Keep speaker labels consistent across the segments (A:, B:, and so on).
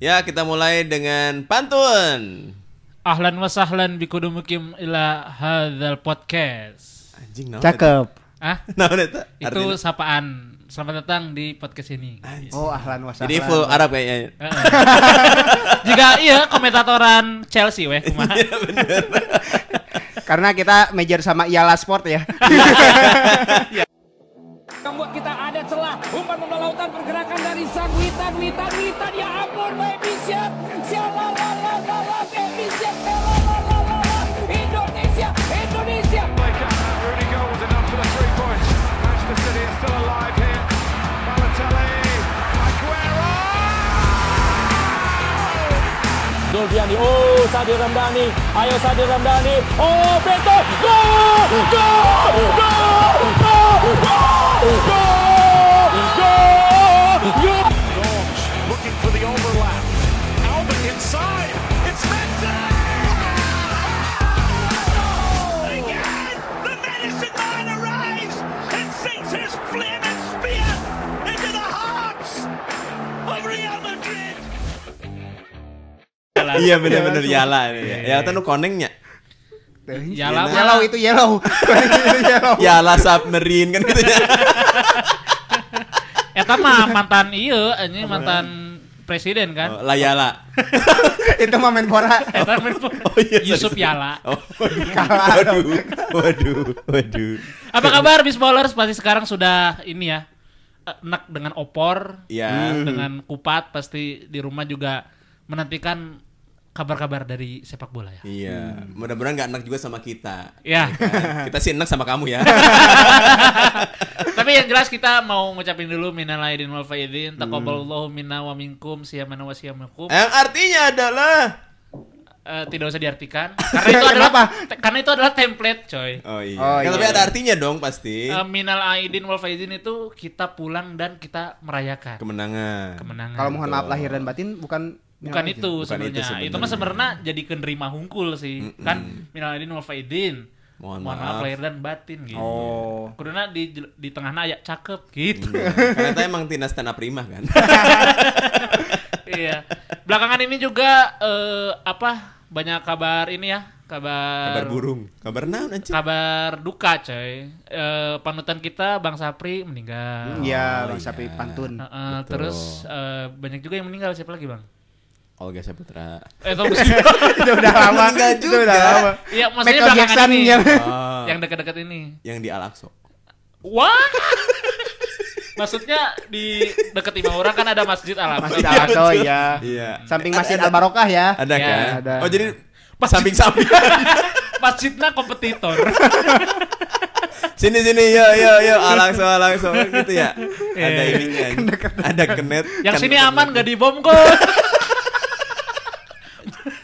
A: Ya, kita mulai dengan pantun.
B: Ahlan wa sahlan bikudu mukim ila hadzal podcast.
A: Anjing naon eta?
C: Cakep.
B: Ah,
A: Naon eta?
B: itu
A: Artinya?
B: sapaan. Selamat datang di podcast ini.
A: Anjing.
C: Oh, ahlan wa
A: Jadi
C: sahlan.
A: full Arab kayaknya.
B: Heeh. Jika iya komentatoran Chelsea weh kumaha.
A: Iya.
C: Karena kita major sama Iala Sport ya.
D: Yang buat kita ada celah umpan bola lautan pergerakan dari sang Witan Witan Witan ya ampun baby siap siapa la la la la baby siap la la la la la la Indonesia Indonesia
E: Rudiger was enough for the three points. Manchester City is still alive here. Balotelli, Aguero!
D: Zulfiani oh Sadir Ramdhani ayo Sadir Ramdhani oh Beto gol gol gol gol gol gol gol
E: Dorms looking for the overlap. Albert inside. It's Messi! Again, the medicine man arrives and sinks his flaming spear into the hearts of Real Madrid.
A: Iya benar-benar Yala ini ya. Ya eta nu konengnya. Gitu. Iya.
B: Yala mah.
C: Yellow itu yellow. Itu yellow.
A: Yala submarine kan gitu ya.
B: Eta Eh, mah mantan iya anjing mantan
A: Iya.
B: presiden kan.
A: Oh, La Yala.
C: Itu mah main bola.
B: Eta men- Yusuf
A: Oh, iya, sorry, sorry.
B: Yala.
A: Oh,
C: Kalah dong.
A: waduh, waduh, waduh.
B: Apa kabar Bisballers? Pasti sekarang sudah ini ya. eh, Enak dengan opor,
A: Ya.
B: dengan kupat pasti di rumah juga menantikan kabar-kabar dari sepak bola ya.
A: Iya, mudah-mudahan nggak enak juga sama kita.
B: Ya.
A: Kan? Kita sih enak sama kamu ya.
B: Tapi yang jelas kita mau ngucapin dulu minal aidin wal faidin, taqabbalallahu minna wa minkum siyamana wa siyamakum.
A: Yang artinya adalah
B: Eh, tidak usah diartikan karena itu adalah
C: Kenapa?
B: te- karena itu adalah template, coy.
A: Oh iya.
C: Oh,
A: Kan
C: iya.
A: Tapi ada artinya dong pasti.
B: Eh, minal aidin wal faidin itu kita pulang dan kita merayakan
A: Kemenangan.
B: kemenangan.
C: Kalau mohon maaf lahir dan batin bukan
B: bukan itu
A: Bukan itu
B: sebenarnya.
A: sebenarnya.
B: Itu mah sebenarnya jadi kenderima hungkul sih.
A: Mm-mm.
B: Kan minal aidin wal faidin.
A: Mohon maaf.
B: lahir dan batin gitu.
C: Oh.
B: Kuduna di di tengahna aya cakep gitu.
A: Mm. Iya. Karena itu emang Tina stand up rimah kan.
B: iya. Belakangan ini juga eh, apa banyak kabar ini ya, kabar
A: Kabar burung. Kabar naon anjir?
B: kabar duka coy. Eh, panutan kita Bang Sapri meninggal.
A: Oh,
C: Iya, Bang Sapi
A: iya.
C: pantun.
A: Betul.
B: Heeh, terus eh, banyak juga yang meninggal siapa lagi Bang?
A: Olga Saputra.
B: Eh tau gak sih?
C: itu udah lama.
A: Meninggal
C: Itu
A: juga.
C: udah lama.
B: Iya, maksudnya
C: Michael
B: belakangan
C: Jackson
B: ini
C: ya.
A: Oh,
B: yang dekat-dekat ini.
A: yang di Al Aqsa.
B: Wah. Maksudnya di dekat lima orang kan ada masjid al
C: Masjid Al Aqsa ya.
B: Ah.
A: Iya.
C: Samping Masjid Al Barokah ya.
A: Ada
B: Ya,
A: kan?
C: ada.
A: Oh jadi samping-samping.
B: Masjidnya kompetitor.
A: Kan sini sini yo yo yo langsung langsung gitu ya ada
B: Iya.
A: ininya ada kenet
B: Yang
A: Kan-
B: sini aman gak dibom kok.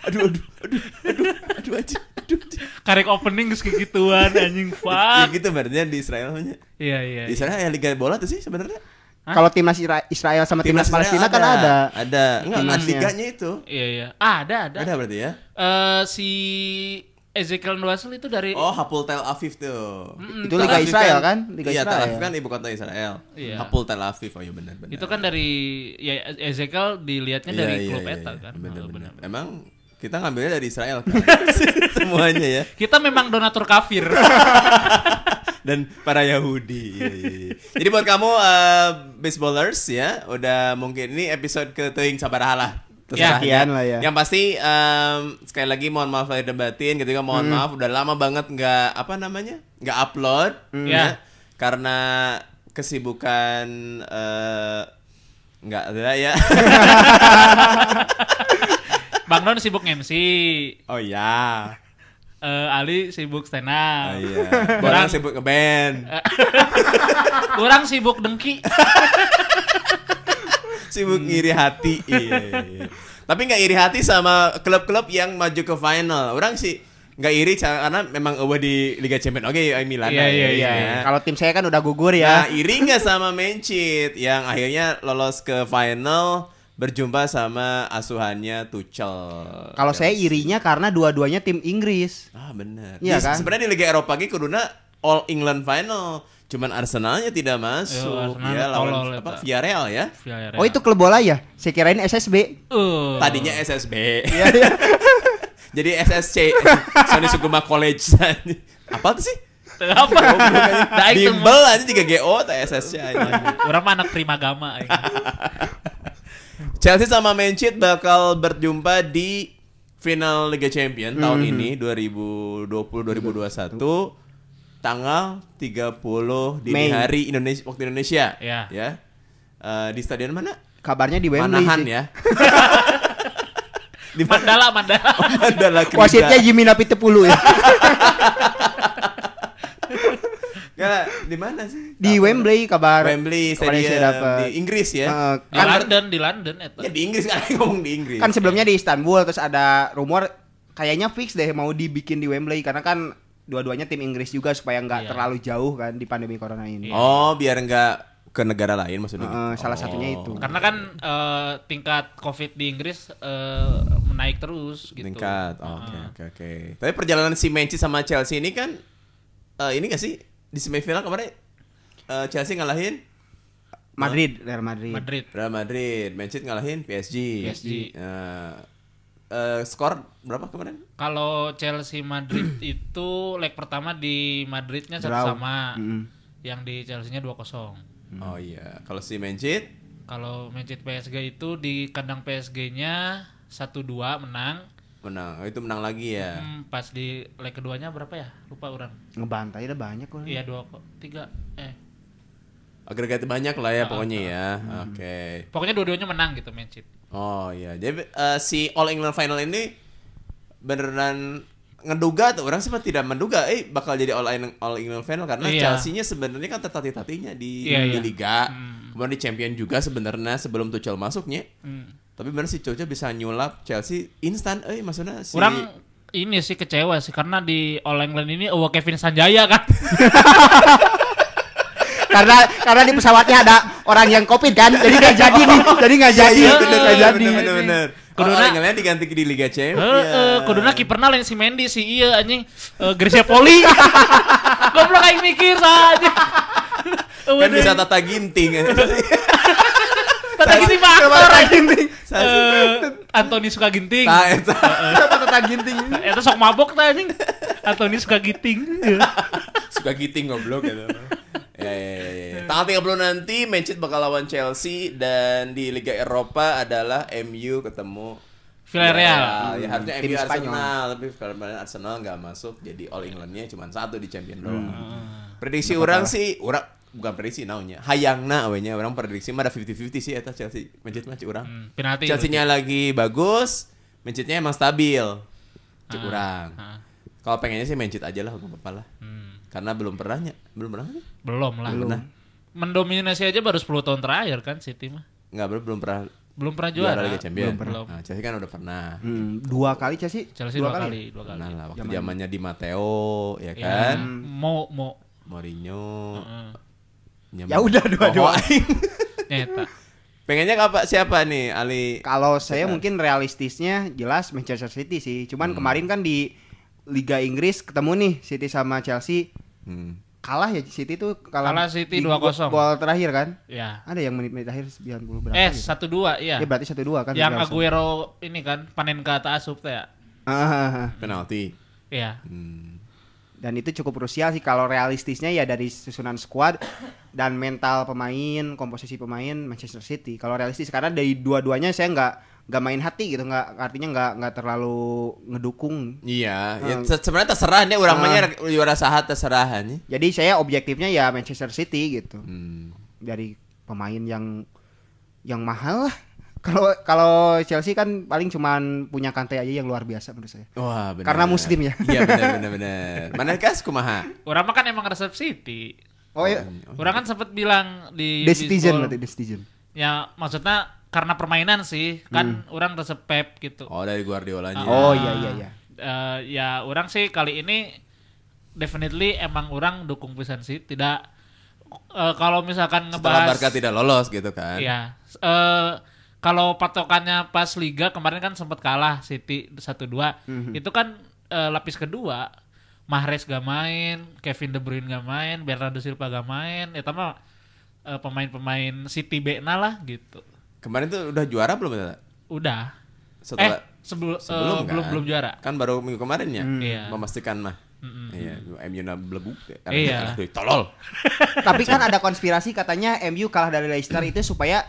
A: aduh aduh aduh aduh aduh aja aduh aja
B: karek opening geus kegituan anjing
A: ya,
B: fuck.
A: gitu berarti di Israel nya
B: Iya iya.
A: di Israel ya liga bola tuh sih sebenarnya
C: Kalau timnas Ira- Israel sama timnas Palestina
A: Israel
C: kan ada.
A: ada enggak
C: Timnasnya.
A: liganya itu
B: Iya iya. Ah, ada ada.
A: ada berarti ya
B: Eh, si Ezekiel Ndwasel itu dari
A: oh Hapoel Tel Aviv tuh
B: Mm,
C: Itu
A: Tel
B: Tel
C: Liga
A: Aviv
C: Israel kan? Liga
A: iya Tel
C: Israel.
A: Aviv kan ibu kota Israel
B: Iya.
A: Hapoel Tel Aviv oh iya benar benar
B: itu kan dari ya Ezekiel dilihatnya
A: Iya,
B: dari
A: iya,
B: klub
A: iya,
B: eta
A: iya.
B: kan.
A: benar
B: Oh,
A: benar
B: benar.
A: emang kita ngambilnya dari Israel kan semuanya ya
B: Kita memang donatur kafir.
A: dan para Yahudi. Iya, iya, iya. Jadi buat kamu eh, baseballers ya, udah mungkin ini episode ke Teuing Sabaraha lah. Terserah
C: Ya, sekian lah ya.
A: Yang pasti em, sekali lagi mohon maaf lahir dan batin ketika
C: Hmm.
A: mohon maaf udah lama banget nggak apa namanya? nggak upload
C: Hmm.
B: Ya.
A: karena kesibukan eh, nggak ada ya.
B: Bang Don sibuk MC,
A: oh ya.
B: eh, Ali sibuk stand
A: Oh
B: up.
A: iya. Orang sibuk ke band.
B: Kurang sibuk dengki.
A: sibuk ngiri hati iya, iya, iya. tapi nggak iri hati sama klub-klub yang maju ke final orang sih nggak iri karena memang awal di Liga Champions oke ya Milan
B: Iya, iya,
A: ya.
B: iya.
C: Kalau tim saya kan udah gugur
A: nah
C: ya.
A: iri nggak sama Manchester yang akhirnya lolos ke final berjumpa sama asuhannya Tuchel
C: Kalau saya irinya karena dua-duanya tim Inggris.
A: ah bener
C: Iya
A: Di-
C: kan?
A: sebenarnya di Liga Eropa lagi kuduna All England Final. Cuman Arsenalnya tidak masuk.
B: Arsenal
A: ya lawan
B: tolol, ya,
A: apa
B: Pak.
A: Villarreal ya.
B: Villarreal.
C: Oh itu klub bola ya? Saya kirain SSB.
B: Eh.
A: Tadinya SSB.
C: Iya,
A: Jadi SSC Sony Suguma College. apa tuh sih?
B: apa? Nah, itu mah.
A: Bimbel aja tiga GO atau SSC aja.
B: Orang mah anak terima gama. eh. aing.
A: Chelsea sama Man City bakal berjumpa di final Liga Champion tahun ini
C: Mhm.
A: 2020-2021 tanggal 30 di
C: Mei.
A: hari Indonesia waktu Indonesia
B: Iya.
A: ya. Eh, di stadion mana?
C: Kabarnya di Wembley.
A: Manahan
C: sih.
A: ya. di mana?
B: Mandala, mandala.
A: Mandala Krida.
C: Wasitnya Jimmy Napi Tepulu ya.
A: Nggak, di mana sih?
C: di
A: Kabar.
C: Wembley kabar.
A: Wembley
C: kabarnya
A: Stadium
C: saya dapat.
A: di Inggris ya.
C: Eh,
B: Di London, di London. eh, Eta.
A: ya di Inggris kan ngomong di Inggris.
C: kan sebelumnya di Istanbul terus ada rumor kayaknya fix deh mau dibikin di Wembley karena kan dua-duanya tim Inggris juga supaya nggak
B: Iya.
C: terlalu jauh kan di pandemi corona ini.
A: Oh, biar nggak ke negara lain maksudnya.
C: Heeh,
A: gitu.
C: Eh, salah satunya
A: Oh.
C: itu.
B: Karena kan eh, tingkat COVID di Inggris eh, menaik terus gitu.
A: Tingkat. Oh, Oke,
B: Heeh.
A: oke, oke. Tapi perjalanan si Manchester sama Chelsea ini kan eh, ini gak sih di semifinal kemarin eh, Chelsea ngalahin
C: Madrid, Real Madrid.
B: Madrid.
A: Real Madrid, Manchester ngalahin PSG.
B: PSG.
A: Eh, eh, skor berapa kemarin?
B: Kalau Chelsea Madrid itu leg pertama di Madridnya satu
C: Draw.
B: sama.
C: Mm-mm.
B: Yang di Chelsea-nya 2-0.
A: Oh iya, kalau si Manchester
B: Kalau Manchester PSG itu di kandang PSG-nya 1-2 menang.
A: menang. Oh, itu menang lagi ya.
B: Hmm, pas di leg keduanya berapa ya? Lupa orang.
C: Ngebantai ada banyak kok.
B: Iya, 2 kok. 3 eh
A: Agregat banyak lah
B: Ah,
A: ya pokoknya ya.
B: Hmm.
A: Oke.
B: Pokoknya dua-duanya menang gitu Manchester.
A: Oh iya, jadi eh, si All England Final ini beneran ngeduga tuh orang sempat tidak menduga eh bakal jadi All England All England Final karena
B: Iya.
A: Chelsea-nya sebenarnya kan tertatih-tatihnya di,
B: Iya,
A: di
B: iya.
A: liga.
B: Hmm.
A: Kemudian di Champion juga sebenarnya sebelum Tuchel masuknya.
B: Hmm.
A: Tapi bener si Tuchel bisa nyulap Chelsea instan eh maksudnya si
B: Kurang ini sih kecewa sih karena di All England ini oh Kevin Sanjaya kan.
A: Iya.
C: karena karena di pesawatnya ada orang yang covid kan. Jadi nggak jadi nih. Jadi nggak jadi.
A: Iya,
C: Nggak
A: bener,
B: Heeh,
A: bener,
C: jadi.
A: bener, bener, bener.
B: Kuduna-
A: All England diganti di Liga Champions.
B: Heeh, kuduna kiperna lain si Mendy si iya anjing uh, Gracia Poli. Goblok aing mikir saja.
A: kan bisa tata ginting.
B: tata ginting mah
C: Coba
B: aktor.
C: tata ginting.
B: Eh, Anthony suka ginting.
A: Nah, itu.
C: Coba
B: eh.
C: tata ginting.
B: Eta sok mabok ta anjing. Anthony suka ginting.
A: suka giting goblok gitu. ya, ya, ya, ya. Tanggal 30 nanti Manchester bakal lawan Chelsea dan di Liga Eropa adalah MU ketemu
B: Villarreal.
A: Ya, harusnya
C: Tim
A: MU
C: Spanyol.
A: Arsenal, tapi kemarin Arsenal nggak masuk jadi All Englandnya cuma satu di Champion
B: Hmm.
A: doang. Prediksi orang sih, orang bukan prediksi naunya. Hayangna we nya orang prediksi mah ada 50-50 sih eta Chelsea Manchester mah cik urang.
B: Hmm, penalti.
A: Chelsea-nya lagi bagus, Manchester-nya emang stabil. Cik urang.
B: Ah.
A: Kalau pengennya sih Manchester aja lah, gak apa-apa lah.
B: Hmm,
A: Karena belum pernahnya, belum pernah kan?
B: belum lah.
A: Belum.
B: Mendominasi aja baru 10 tahun terakhir kan City mah.
A: Enggak, belum belum pernah
B: Belum pernah
A: juara
B: juara.
A: Liga Champions.
B: Belum pernah.
A: Nah, Chelsea kan udah pernah.
C: Hmm, dua kali Chelsea.
B: Chelsea dua, kali, dua kali.
A: Pernah lah waktu
C: Zaman- Hmm.
A: zamannya di Matteo ya
B: Ya,
A: kan.
B: Mo mo
A: Mourinho.
B: Heeh.
A: nyaman.
C: Ya udah, dua-dua.
A: Oh, aing.
B: nyeta.
A: Pengennya apa siapa nih? Ali
C: Kalau saya mungkin realistisnya jelas Manchester City sih. Cuman kemarin kan di Liga Inggris ketemu nih City sama Chelsea
A: Hmm.
C: kalah ya City tuh kalah.
B: Kalah City
C: di
B: 2-0.
C: Gol terakhir kan?
B: Ya.
C: Ada yang menit-menit akhir 90 berapa?
B: Eh,
C: gitu?
B: satu dua iya.
C: Ya berarti 1-2 kan.
B: yang
C: Chelsea.
B: Aguero ini kan panen ke atas asup teh ya.
C: Ah, ah, ah.
A: penalti.
B: Iya.
A: Hmm.
C: Dan itu cukup krusial sih kalau realistisnya ya dari susunan squad dan mental pemain, komposisi pemain Manchester City. Kalau realistis karena dari dua-duanya saya nggak nggak main hati gitu, nggak artinya nggak nggak terlalu ngedukung
A: Iya, ya,
C: Ah.
A: se- sebenarnya terserah nih orang
C: Ah.
A: mah nya juara saha terserah nih.
C: Jadi saya objektifnya ya Manchester City gitu.
A: Hmm.
C: Dari pemain yang yang mahal lah. Kalau kalau Chelsea kan paling cuman punya Kante aja yang luar biasa menurut saya.
A: Wah, benar.
C: Karena muslim ya.
A: Iya, benar benar benar. Mana kas kumaha?
B: Orang mah kan emang resep City.
C: Oh iya,
B: Orang kan sempat bilang di
C: The Citizen
B: Bisbol,
C: berarti The Citizen.
B: Ya, maksudnya karena permainan sih, kan orang resep Pep gitu.
A: Oh, dari Guardiolanya.
B: Ah,
C: Oh, iya, iya, iya.
B: eh, ya orang sih kali ini definitely emang orang dukung pisan sih, tidak eh, kalau misalkan
A: Setelah
B: ngebahas
A: Barca tidak lolos gitu kan.
B: Iya. Eh, kalau patokannya pas
A: Mhm.
B: liga kemarin kan sempat kalah City 1-2. Itu kan eh, lapis kedua. Mahrez gak main, Kevin De Bruyne gak main, Bernardo Silva gak main, ya mah eh, pemain-pemain City B na lah gitu.
A: Kemarin tuh udah juara belum Tata?
B: Udah. eh
A: Setelah
B: sebelum
A: sebelum
B: eh, belum
A: kan?
B: belum juara.
A: Kan baru minggu kemarin ya.
B: Iya.
A: Memastikan mah. Iya, MU na blebuk. ya.
B: Iya.
A: Alah, duh, Tolol.
C: Tapi kan ada konspirasi katanya MU kalah dari Leicester itu supaya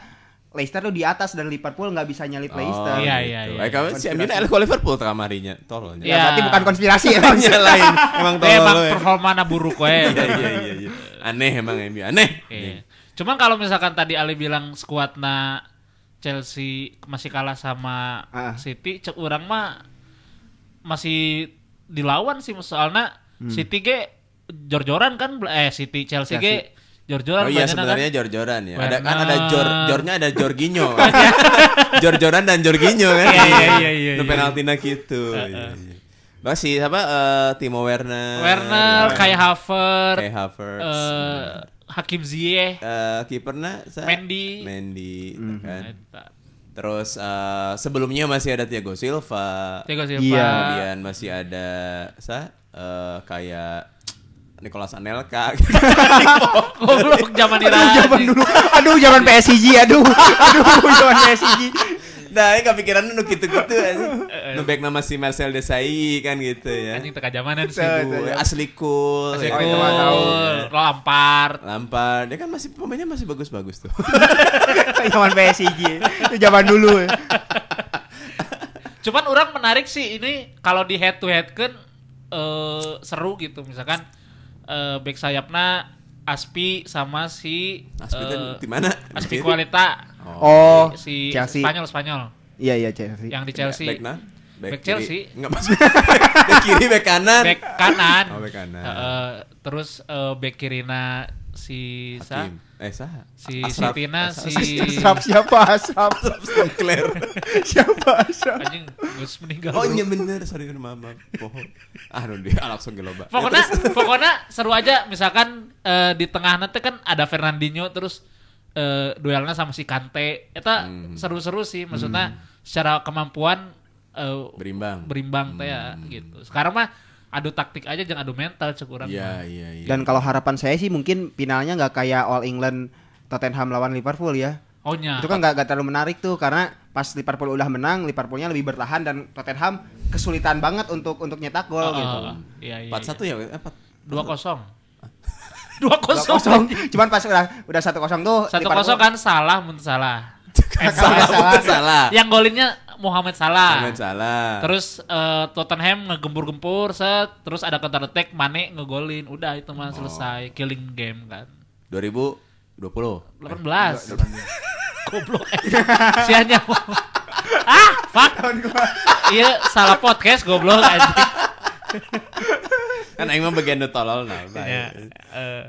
C: Leicester tuh di atas dan Liverpool nggak bisa nyalip Leicester. Nah,
B: iya,
A: gitu.
B: iya, iya.
A: Eh, kamu si MU na elek Liverpool terkamarinya. Tololnya.
C: Ya,
B: Iya.
C: berarti bukan konspirasi ya Bang.
A: Nyalain. Iya, Emang
B: Eh,
A: tolol.
B: emang
A: lu ya.
B: performa na buruk we.
A: Iya, iya, iya, iya. Aneh emang MU, aneh.
B: Iya. Cuman kalau misalkan tadi Ali bilang skuadna Chelsea masih kalah sama
C: Ah.
B: City, cek orang mah masih dilawan sih soalnya City ge jor-joran kan bel- eh City Chelsea, ge
A: Oh
B: jor-joran
A: iya
B: banyakna kan.
A: sebenarnya jor-joran ya. Ada kan
B: Werner.
A: ada jor jornya ada Jorginho. jor-joran dan Jorginho kan.
B: Iya, iya, iya, iya,
A: Nu
B: iya.
A: penaltina gitu. Iya, iya. Bah, si apa eh, Timo Werner.
B: Werner, Kai Havertz,
A: Kai Havertz.
B: eh, Hakim Ziyech,
A: Eh, kipernya sa-
B: Mendy.
A: Mendy gitu kan.
B: Eta.
A: Terus eh, sebelumnya masih ada Thiago Silva.
B: Thiago
C: Iya.
B: Silva.
A: Kemudian masih ada sa eh, kayak Nicolas Anelka.
B: Goblok zaman Ira.
C: Zaman dulu. Aduh, zaman PSG, aduh. Aduh, zaman PSG.
A: nah, ini kepikiran nu gitu-gitu
B: Eh,
A: anjing. Nu back nama si Marcel Desai kan gitu ya.
B: Anjing teka zamanan sih.
C: Tuh.
A: Cool, asli cool.
B: Masih
A: ya
C: Oh,
A: kan?
C: itu mah tahu.
B: cool, Lampard.
A: Lampard, dia kan masih pemainnya masih bagus-bagus tuh.
C: Zaman PSG. Itu zaman dulu. ya.
B: Cuman orang menarik sih ini kalau di head to head kan eh, seru gitu misalkan eh, back sayapna Aspi sama si
A: Aspi
B: eh,
A: kan di mana?
B: Aspi
A: Di-
B: Kualita
C: Oh,
B: si
C: Chelsea.
B: Spanyol Spanyol
C: Iya, iya, Chelsea.
B: yang di Chelsea
A: Back, nah? kiri.
B: Back Chelsea.
A: Nggak masuk. back kiri, back kanan.
B: back kanan,
A: Oh, back kanan.
B: Heeh, terus eh, back kirina si Sa
A: Hakim. Eh, sah.
B: si
A: Asraf.
B: Sitina
A: Asraf.
B: si
C: Asap siapa? Asap.
A: Asraf Sinclair.
C: Siapa Asap?
B: anjing gus meninggal
A: Oh
B: bro.
A: iya bener, sorry mama. Pohon. Ah, nu dia langsung geloba.
B: Pokoknya,
A: Ya, terus-
B: pokoknya seru aja. Misalkan eh, di tengah nanti kan ada Fernandinho terus eh, duelnya sama si Kante. Itu seru-seru sih. Maksudnya secara kemampuan eh,
A: berimbang.
B: berimbang teh ya, gitu. Sekarang mah adu taktik aja jangan adu mental cek urang.
A: Iya, iya, iya.
C: Dan kalau harapan saya sih mungkin finalnya nggak kayak All England Tottenham lawan Liverpool ya.
B: Oh nya.
C: Itu kan nggak nggak terlalu menarik tuh karena pas Liverpool udah menang, Liverpoolnya lebih bertahan dan Tottenham kesulitan banget untuk untuk nyetak gol
B: Oh,
C: gitu.
B: Iya, iya.
A: 4-1 ya, eh, 4
B: 2 kosong. Dua
C: kosong.
B: kosong.
C: Cuman pas udah udah satu kosong tuh
B: Satu
C: Liverpool-
B: kosong kan salah, mun salah. Eh,
A: salah,
C: salah.
A: salah, salah.
B: Yang golinnya Muhammad Salah.
A: Pemain salah.
B: Terus eh, Tottenham ngegempur-gempur set, terus ada counter attack, Mane ngegolin, udah itu mah selesai killing game kan.
A: Eh, 2020.
B: 18. Goblok. si hanya Ah, fuck. Iya, salah podcast goblok anjing.
A: Kan aing mah bagian nu tolol nah. baik.
B: Ya, eh,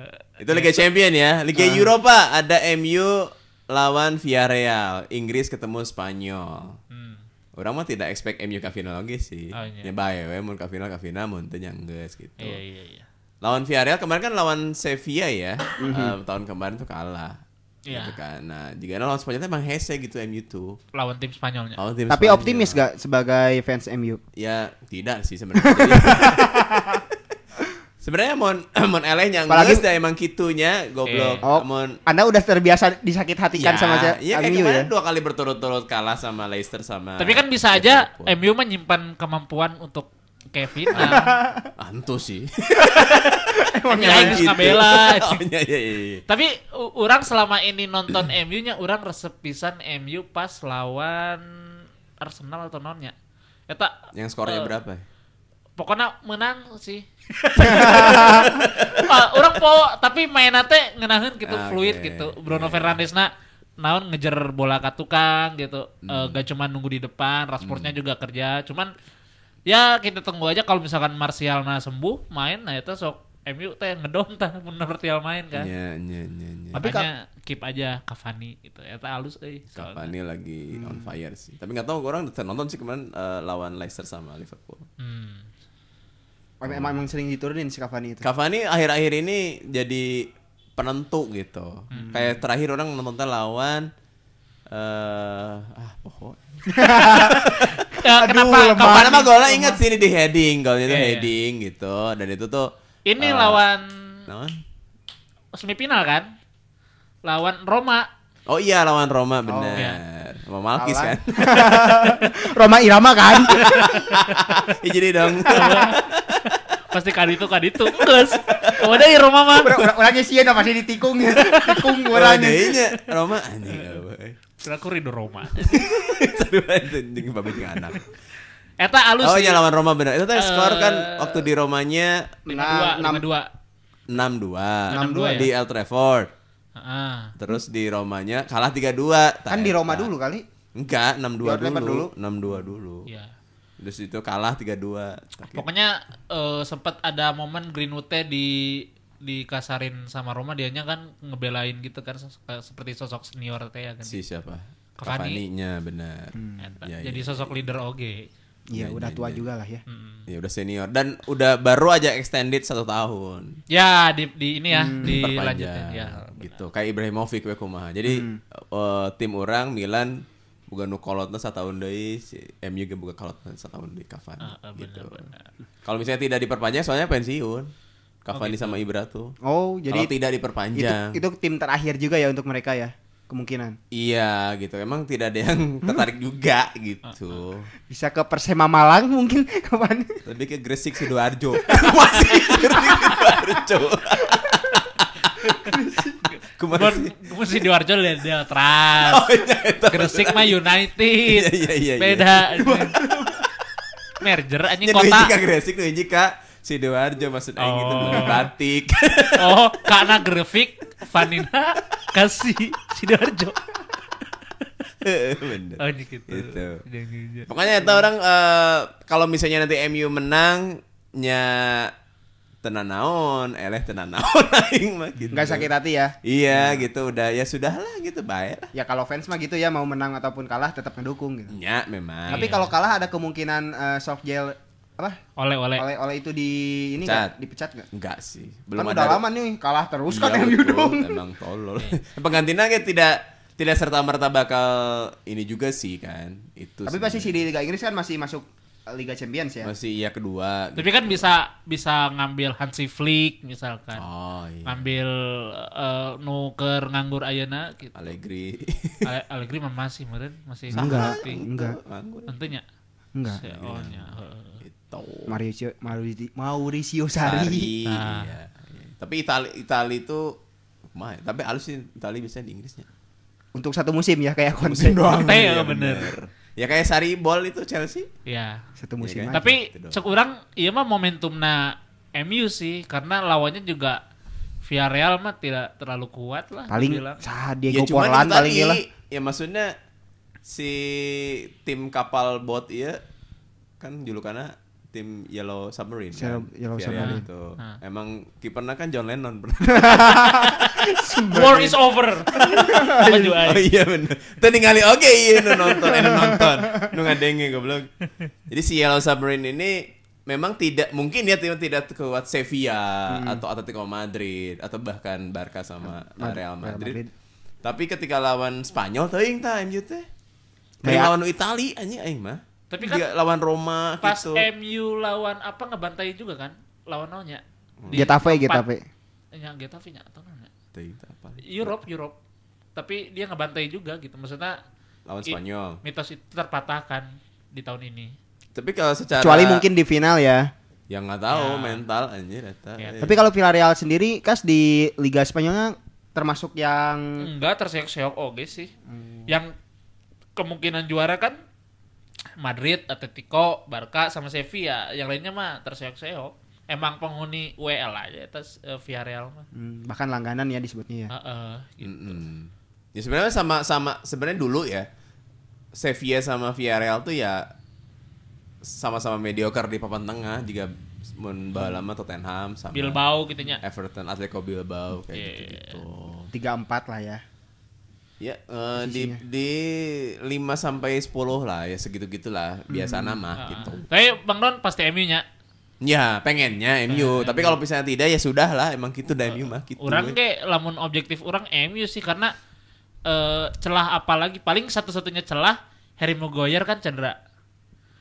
A: Itu Liga Champion ya. Liga
B: Ah.
A: Eropa ada MU lawan Villarreal, Inggris ketemu Spanyol.
B: hmm.
A: Orang mah tidak expect MU ke final lagi sih.
B: Oh, iya.
A: Ya bae we mun ke final ke final mun teu nyanggeus gitu.
B: Iya, iya, iya.
A: Lawan Villarreal kemarin kan lawan Sevilla ya.
C: Mhm.
A: Eh, tahun kemarin tuh kalah.
B: Iya.
A: Gitu kan. Nah, jika lawan Spanyol tuh emang hese gitu MU tuh.
B: Lawan tim Spanyolnya.
A: Lawan tim
C: Tapi
A: Spanyol.
C: optimis gak sebagai fans MU?
A: Ya, tidak sih sebenarnya. Jadi- Sebenarnya mon mon eleh nyanggeus
C: Apalagi-
A: dah emang kitunya
B: Iya.
A: goblok.
C: Oh,
A: Mon
C: Anda udah terbiasa disakit hatikan sama saya
A: iya kayak
C: MU
A: kemarin
C: ya?
A: dua kali berturut-turut kalah sama Leicester sama
B: Tapi kan
A: iya,
B: bisa aja
A: Liverpool.
B: MU menyimpan kemampuan untuk Kevin.
A: antu sih
B: Emang Inggris kabela.
A: Oh, iya, iya, iya.
B: Tapi u- orang selama ini nonton MU-nya orang resep pisan MU pas lawan Arsenal atau nonnya. Eta
A: yang skornya
B: eh,
A: berapa ya?
B: Pokoknya menang sih. Ah, orang po tapi mainnya teh ngenahin gitu
A: Ah,
B: fluid
A: oke.
B: gitu. Bruno
A: Iya.
B: Fernandes na naon ngejer bola ke tukang gitu. Eh,
A: Hmm.
B: gak cuma nunggu di depan, Rashfordnya juga kerja. Cuman ya kita tunggu aja kalau misalkan Martial na sembuh main nah itu sok MU teh ngedom tah mun Martial main kan.
A: Iya, iya, iya, iya.
B: Tapi
C: Tapi
B: Makanya keep aja Cavani gitu. Eta halus euy. soalnya.
A: Cavani lagi
B: Hmm.
A: on fire sih tapi nggak tahu orang nonton sih kemarin eh, lawan Leicester sama Liverpool
B: Hmm.
C: Emang, emang sering diturunin si Cavani itu.
A: Cavani akhir-akhir ini jadi penentu gitu
B: Hmm.
A: kayak terakhir orang nontonnya lawan eh ah pokok
B: eh, kenapa
C: lemah.
B: kapan
A: Kemana mah golnya inget sih ini di heading, golnya itu
B: Iya, iya.
A: heading gitu dan itu tuh eh,
B: Ini lawan
A: lawan-
B: semifinal kan? Lawan Roma.
A: Oh iya lawan Roma bener.
B: iya.
A: Sama Malkis kan.
C: Lawan. Roma Irama kan?
A: ya jadi dong.
B: Pasti kali itu kali itu. Terus kemudian Roma mah.
C: Orangnya sih ya pasti ditikung, tikung
A: Roma
C: orangnya.
A: Roma anjing. euy.
B: Terus Aku rindu Roma.
A: Aduh, anjing babi jeung anak.
B: Eta alus
A: Oh
B: sih.
A: iya lawan Roma bener. Itu teh
B: Eh,
A: skor kan waktu di Romanya
C: Nah,
B: 5-2,
C: enam-
A: 6-2
B: 5-2. 6-2 ya?
A: di El Trafford.
B: Heeh.
A: Terus di Romanya kalah 3-2.
C: Kan di Roma dulu kali.
A: Enggak, 6-2
C: Di El Trafford
A: dulu. 6-2 dulu.
B: Iya.
A: Terus itu kalah 3-2.
B: Pokoknya eh, sempat ada momen Greenwood teh di dikasarin sama Roma dianya kan ngebelain gitu kan se- seperti sosok senior teh ya kan.
A: si siapa?
B: Cavani. Hmm.
A: Cavani-nya benar.
B: Eta.
A: Iya,
B: Jadi sosok leader oge.
C: Iya, udah tua juga lah ya.
B: Hmm.
A: Ya udah senior dan udah baru aja extended satu tahun.
B: Ya di, di ini ya
A: Hmm,
B: dilanjutin
A: Perpanjang
B: ya.
A: gitu. Kayak Ibrahimovic we kumaha. Jadi eh, tim orang Milan bukan nu kolotna satahun deui, si MU ge buka kolotna satahun deui Cavani
B: Ah, ah,
A: gitu.
B: benar-benar.
A: Kalau misalnya tidak diperpanjang soalnya pensiun. Cavani sama Ibra tuh.
C: Oh, jadi
A: Kalau tidak
C: itu,
A: diperpanjang.
C: itu tim terakhir juga ya untuk mereka ya, kemungkinan.
A: Iya gitu. Emang tidak ada yang tertarik juga gitu.
C: Bisa ke Persema Malang mungkin kapan?
A: Lebih ke Gresik Sidoarjo. Masih Gresik Sidoarjo.
B: Bon,
A: Kumasi.
B: mesti di Warjo Del Trans.
A: Oh, iya, itu.
B: Gresik mah United.
A: Iya, iya, iya, iya.
B: Beda. Merger anjing
A: Nya nu hiji ka
B: kota.
A: Gresik, nu hiji ka Sidoarjo maksud aing gitu
B: Oh.
A: bukan batik.
B: Oh, karena grafik Vanina kasih Sidoarjo.
A: Bener.
B: Oh, gitu.
A: Gitu.
B: Jangan-jangan.
A: Pokoknya itu orang eh, kalau misalnya nanti MU menang nya tenan naon, eleh tenan naon aing mah gitu.
C: Nggak sakit hati ya.
A: Iya gitu udah ya sudahlah gitu baik lah.
C: Ya kalau fans mah gitu ya mau menang ataupun kalah tetap ngedukung gitu.
A: Nya memang.
C: Tapi
B: Iya.
C: kalau kalah ada kemungkinan eh, soft jail apa?
B: Oleh-oleh.
C: Oleh oleh itu di ini
A: Pecat.
C: nggak? dipecat nggak?
A: Enggak sih. Belum
C: Belum kan
A: ada
C: udah lama nih kalah terus kan
A: Iya,
C: MU
A: betul,
C: dong. Iya.
A: Emang tolol. Penggantinya kayak tidak tidak serta merta bakal ini juga sih kan. Itu.
C: Tapi pasti sih
A: sebenarnya.
C: di Liga Inggris kan masih masuk eh, Liga Champions ya.
A: masih iya kedua.
B: Tapi kan bisa bisa ngambil Hansi Flick misalkan.
A: Oh iya.
B: Ngambil eh, nu keur nganggur ayeuna gitu.
A: Allegri.
B: Ale- Allegri mah masih meureun, masih masih.
C: enggak, ya.
A: Nganggur.
B: Tentunya.
C: enggak.
B: Seonnya. heeh.
A: Itu.
C: Mauricio Mauricio, Mauricio Sarri.
A: Sari.
B: Ah.
A: Iya. iya. Tapi Itali Itali itu mah tapi halus sih Itali bisa di Inggrisnya.
C: Untuk satu musim ya kayak Conte.
A: Musim doang.
B: Conte,
A: Iya,
B: ya, bener.
A: Ya kayak Sari Bol itu Chelsea.
B: Ya.
C: Satu
A: Iya
C: musim.
A: kan?
C: aja.
B: Tapi
A: Gitu doang.
B: cek orang iya mah momentumna MU sih karena lawannya juga Villarreal mah tidak terlalu kuat lah
C: paling
B: dibilang.
C: sah
A: Ya
C: Diego
A: cuman
C: Forlan
A: itu
C: paling
A: tadi,
C: gila.
A: Ya maksudnya si tim kapal bot iya kan julukannya tim Yellow Submarine. kan?
C: Yellow- Yellow
A: Villarreal
B: Submarine.
A: Itu.
B: Ah.
A: Emang kipernya kan John Lennon. bro.
B: War is over. Apa juga,
A: oh
B: eh.
C: Gitu.
B: ay?
A: iya bener. Tuh ningali oke iya nu nonton, eh, nu nonton. Nu ngadenge goblok. Jadi si Yellow Submarine ini memang tidak mungkin ya tim tidak kuat Sevilla
C: Hmm.
A: atau Atletico Madrid atau bahkan Barca sama
C: Mad-
A: Real
C: Ah, Real
A: Madrid.
C: Madrid.
A: Tapi ketika lawan Spanyol teuing ta MU teh. Mending
C: Kayak-
A: gitu. lawan Itali anjing aing mah.
B: Tapi
A: Tapi
B: kan
A: kan lawan Roma
B: Pas eh,
A: gitu.
B: MU lawan apa ngebantai juga kan? Lawan naunya. Di
C: Getafe
B: empat-
C: Getafe.
B: Ya Getafe nya atau naunya.
A: Teuing teh apa?
B: Europe Europe. Tapi dia ngebantai juga gitu. Maksudnya
A: Lawan
B: i-
A: Spanyol.
B: mitos itu terpatahkan di tahun ini.
A: Tapi kalau secara
C: Kecuali mungkin di final ya.
A: yang nggak tahu
B: Ya.
A: mental anjir eta.
B: Ya,
A: Eh.
C: Iya. Tapi kalau Villarreal sendiri kas di Liga Spanyolnya termasuk yang
B: Enggak terseok-seok oge sih.
A: Hmm.
B: Yang kemungkinan juara kan Madrid, Atletico, Barca sama Sevilla. Yang lainnya mah terseok-seok. Emang penghuni WL aja atas eh, Villarreal mah.
C: hmm, bahkan langganan ya disebutnya ya.
B: Heeh, gitu.
A: Hmm, Mm-mm. Ya sebenarnya sama sama sebenarnya dulu ya Sevilla sama Villarreal tuh ya sama-sama mediocre di papan tengah jika mun baheula mah Tottenham sama
B: Bilbao gitu nya.
A: Everton Atletico Bilbao kayak
B: Iya.
A: gitu.
C: Tiga empat lah ya.
A: Ya eh, di di 5 sampai 10 lah ya segitu-gitulah
C: Hmm.
A: biasa
B: Ah,
A: nama gitu.
B: Tapi Bang Don pasti MU-nya.
A: Ya, pengennya MU, tapi kalau misalnya tidak ya sudah lah emang gitu dah MU mah gitu.
B: Eh, Orang
A: we.
B: ge lamun objektif orang MU sih karena eh, celah apalagi paling satu-satunya celah Harry Maguire kan cedera.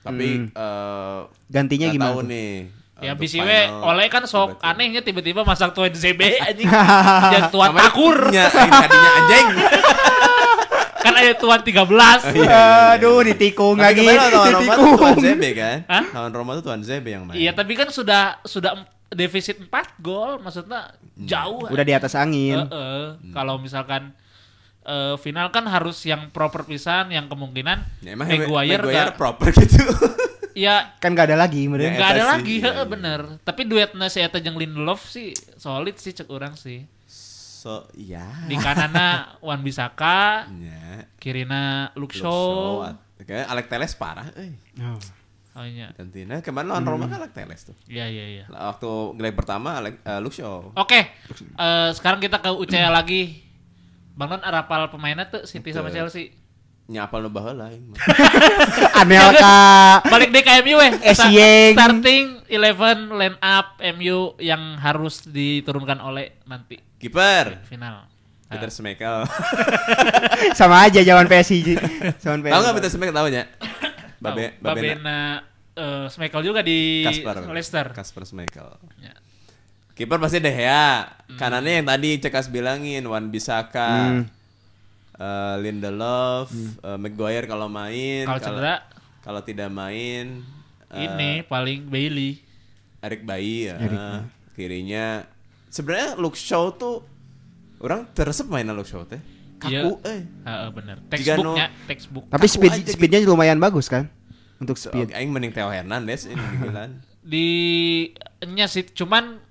A: Tapi eh,
C: Hmm. Gantinya
A: nggak
C: gimana
A: Tahu
C: tuh?
A: nih.
B: Ya
A: untuk
B: abis ini
A: final.
B: oleh kan sok
A: Tiba-tiba.
B: anehnya tiba-tiba masak tuan ZB anjing. Dan tuan
A: Namanya
B: takur.
A: punya, ini tadinya anjing.
B: Kan ada tuan
A: Oh,
B: 13.
C: Aduh, ditikung
A: Iya, Tapi kemarin
C: lagi.
A: lawan Roma tuh
C: Ditikung.
A: Tuan Zebe kan?
B: Hah?
A: Lawan Roma tuh Tuan Zebe yang main.
B: Iya tapi kan sudah sudah em- defisit 4 gol maksudnya
A: Hmm.
B: jauh.
C: Udah di atas angin.
B: Heeh. Kalau misalkan eh, final kan harus yang proper pisan yang kemungkinan
A: Ya, emang
B: Maguire,
A: Maguire,
B: nggak-
A: proper gitu.
B: ya
C: Kan gak ada lagi
A: Ya,
C: meureun.
B: nggak ada
A: eta sih,
B: lagi
A: iya, iya.
B: heeh bener. Tapi duetnya si Eta jeung Lindelof sih solid sih cek orang sih.
A: so, iya.
B: Di kanana Wan Bisaka,
A: Ya.
B: kirina
A: Luke
B: Luxo.
A: Shaw. Kayaknya Alek Teles parah. Eh.
C: Oh.
B: Oh iya.
A: Gantinya kemarin lawan Roma kan Alek Teles tuh.
B: Iya iya iya.
A: Waktu gelar pertama Alek, eh, Luke Shaw.
B: Oke, eh, sekarang kita ke UCL lagi. Bang Non arapal pemainnya tuh City sama
A: Betul.
B: Chelsea.
A: Nyapal nu baheula eh. aing mah.
C: Oh. Anelka.
B: Balik deh ke MU weh.
C: Eh,
B: Sta-
C: sieng.
B: Starting 11 line up MU yang harus diturunkan oleh nanti
A: Kiper.
B: final. Nah,
A: Peter Schmeichel.
C: Sama aja zaman PSG. Zaman PSG.
A: Tahu enggak Peter Schmeichel tahu nya? Babe, Babena.
B: Babe, Babena eh, Schmeichel juga di
A: Kasper.
B: Leicester.
A: Kasper Schmeichel.
B: Ya. Hmm.
A: Kiper pasti deh ya. Kanannya yang tadi Cekas bilangin Wan Bisaka.
C: Hmm.
A: eh, Lindelof, eh, Maguire kalau main,
B: Kalau cedera?
A: kalau tidak main eh,
B: Ini paling Bailey.
A: Eric Bayi ya. Kirinya sebenarnya Luke Shaw tuh orang teresep mainan Luke Shaw teh. Kaku
B: Iya.
A: eh.
B: Heeh, bener.
A: Jika no-
B: Textbooknya, textbook.
C: Tapi
A: Kaku
C: speed
A: aja gitu.
C: speednya lumayan bagus kan? Untuk
A: So,
C: speed.
A: aing mending Theo Hernandez ini gitu kan. dibilang.
B: Di nya sih cuman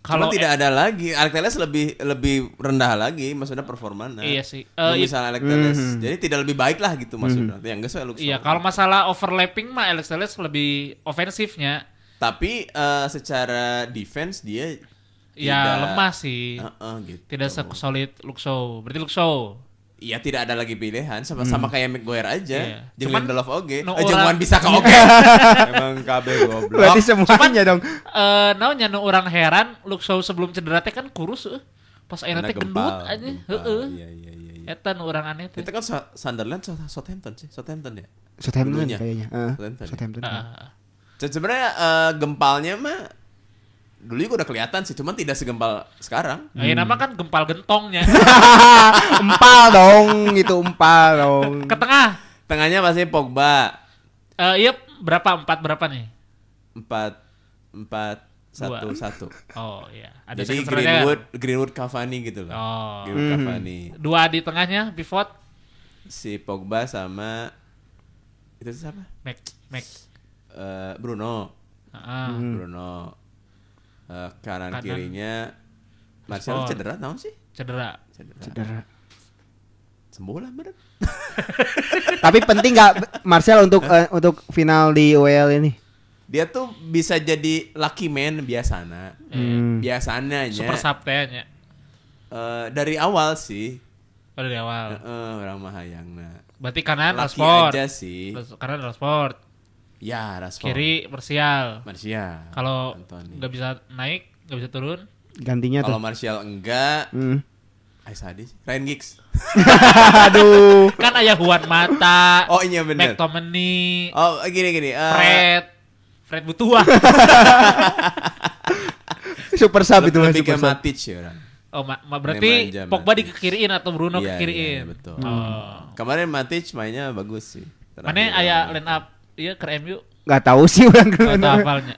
A: Kalau
B: kalau e-
A: tidak ada lagi, Alex Telles lebih lebih rendah lagi maksudnya performanya.
B: Iya sih. Eh,
A: Lu
B: iya.
A: misalnya Alex Telles. Jadi tidak lebih baik lah gitu maksudnya. Yang enggak Luke Shaw.
B: Iya, kalau masalah overlapping mah Alex Telles lebih ofensifnya.
A: Tapi eh, secara defense dia
B: Ya
A: tidak-
B: lemah sih.
A: Heeh, gitu.
B: Tidak sesolid Luxo. Berarti Luxo.
A: Iya tidak ada lagi pilihan sama sama kayak Maguire
B: Iya.
A: aja. Jeung
B: Cuman,
A: Lindelof oge,
B: nu
A: Eh, jeung
B: orang-
A: Wan bisa ke oge. Emang kabeh goblok.
C: Berarti
A: ya,
C: semuanya dong.
B: Eh, naonnya nu orang heran Luxo sebelum cedera teh kan kurus eh. Pas ayeuna teh gendut aja. Heeh.
A: Iya iya iya iya.
B: Eta nu urang aneh teh.
A: Itu kan Sa- Sunderland Sa- Southampton sih, Southampton ya.
C: Southampton kan
A: Dulunya.
C: kayaknya. Heeh.
A: Southampton.
C: Southampton.
B: Ah.
A: Se- Sebenarnya eh, gempalnya mah dulu juga udah kelihatan sih, cuman tidak segempal sekarang.
B: Ayeuna mah kan gempal gentongnya.
C: empal dong, itu empal dong.
B: Ke tengah.
A: Tengahnya pasti Pogba.
B: Eh, iya berapa? Empat berapa nih?
A: empat empat satu satu.
B: Oh iya. Ada
A: Jadi
B: second striker.
A: Greenwood Greenwood Cavani gitu loh.
B: Oh.
A: Greenwood Cavani.
B: Dua di tengahnya pivot.
A: Si Pogba sama itu siapa?
B: Mac Mac.
A: Eh, Bruno.
B: Ah,
A: Hmm. Bruno. Eh, kanan,
B: Kanan.
A: kirinya Martial
B: Rashford.
A: cedera tau sih?
B: cedera.
A: Cedera.
C: Cedera.
A: Sembuh lah bener.
C: Tapi penting nggak Marcel untuk eh, untuk final di UEL ini?
A: Dia tuh bisa jadi lucky man biasana.
C: Hmm.
A: Biasanya
B: Super sabtenya.
A: Eh, dari awal sih.
B: Oh, dari awal.
A: Heeh, orang mahayangna.
B: Berarti kanan
A: Lucky
B: Kan Rashford.
A: aja sih.
B: Terus Kanan Rashford,
A: Ya, Rashford.
B: kiri Martial.
A: Martial.
B: Kalau
A: Nah, Anthony.
B: nggak bisa naik, nggak bisa turun.
C: Gantinya
A: Kalau
C: tuh.
A: Martial enggak,
C: Hmm.
A: Ais Hadi, Ryan Giggs.
C: Aduh.
B: Kan ayah Juan Mata,
A: Oh, iya bener.
B: McTominay,
A: Oh gini gini. eh,
B: Fred, Fred Butua.
C: Super sub itu
A: lebih
C: masih
A: ke
C: super sub.
A: Matic ya orang.
B: oh, ma- ma- berarti
A: Nemanja
B: Pogba
A: Matic.
B: dikekiriin atau Bruno
A: Iya,
B: kekiriin.
A: iya, betul.
B: Oh.
A: Kemarin Matic mainnya bagus sih.
B: Mana
A: ya,
B: ayah line up Iya ke MU
C: Nggak tahu sih orang
B: atau hafalnya.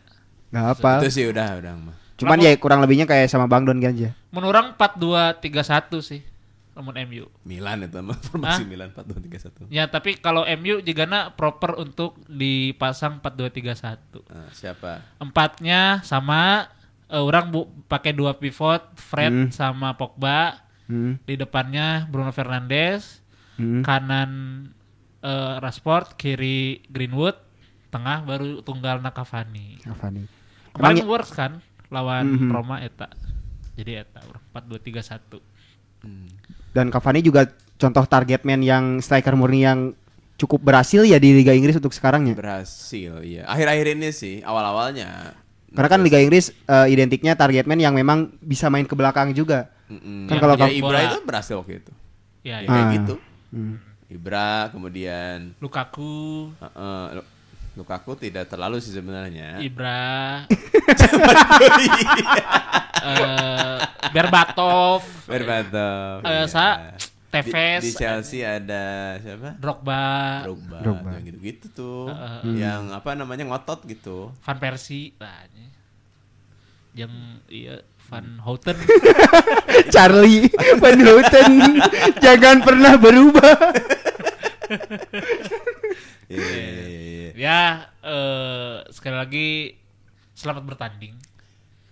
C: Nggak apa.
A: Itu sih udah udah mah.
C: Cuman ya kurang lebihnya kayak sama Bang Don aja.
B: Menurang 4-2-3-1 sih. Namun MU.
A: Milan itu mah formasi
B: Hah?
A: Milan 4231.
B: Ya tapi kalau MU jigana proper untuk dipasang 4-2-3-1.
A: Nah, siapa?
B: Empatnya sama eh, orang bu pakai dua pivot Fred sama Pogba.
C: Hmm.
B: Di depannya Bruno Fernandes,
C: Hmm.
B: kanan eh, Rashford, kiri Greenwood, tengah baru tunggal Nakavani.
C: Apa nih? Emang
B: Kemarin works kan lawan Roma eta. Jadi eta urang 4-2-3-1.
C: dan Cavani juga contoh target man yang striker murni yang cukup berhasil ya di Liga Inggris untuk ya. sekarangnya.
A: Berhasil iya. Akhir-akhir ini sih, awal-awalnya.
C: Karena kan Liga Inggris eh, identiknya target man yang memang bisa main ke belakang juga.
A: Mm-mm.
C: Kan kalau
A: ya,
C: kamu-
A: Ibra
B: bola.
A: itu berhasil waktu itu.
B: Ya,
A: Ya,
B: ya.
A: kayak
C: Ah.
A: gitu. Ibra kemudian
B: Lukaku
A: Heeh, lo- Lukaku tidak terlalu sih sebenarnya. Iya.
B: Ibra, eh, Berbatov,
A: Berbatov.
B: Eh,
A: iya.
B: sa-
A: Di-
B: Tevez,
A: Di, Chelsea ada siapa?
B: Drogba,
A: Drogba,
C: Drogba. Hmm.
A: yang gitu-gitu tuh.
B: Heeh.
A: Yang apa namanya ngotot gitu.
B: Van Persie, lah, ini. yang iya
A: Hmm.
B: Van Houten,
C: Charlie Van Houten jangan pernah berubah.
A: Iya, iya, iya, iya.
B: ya eh, sekali lagi selamat bertanding.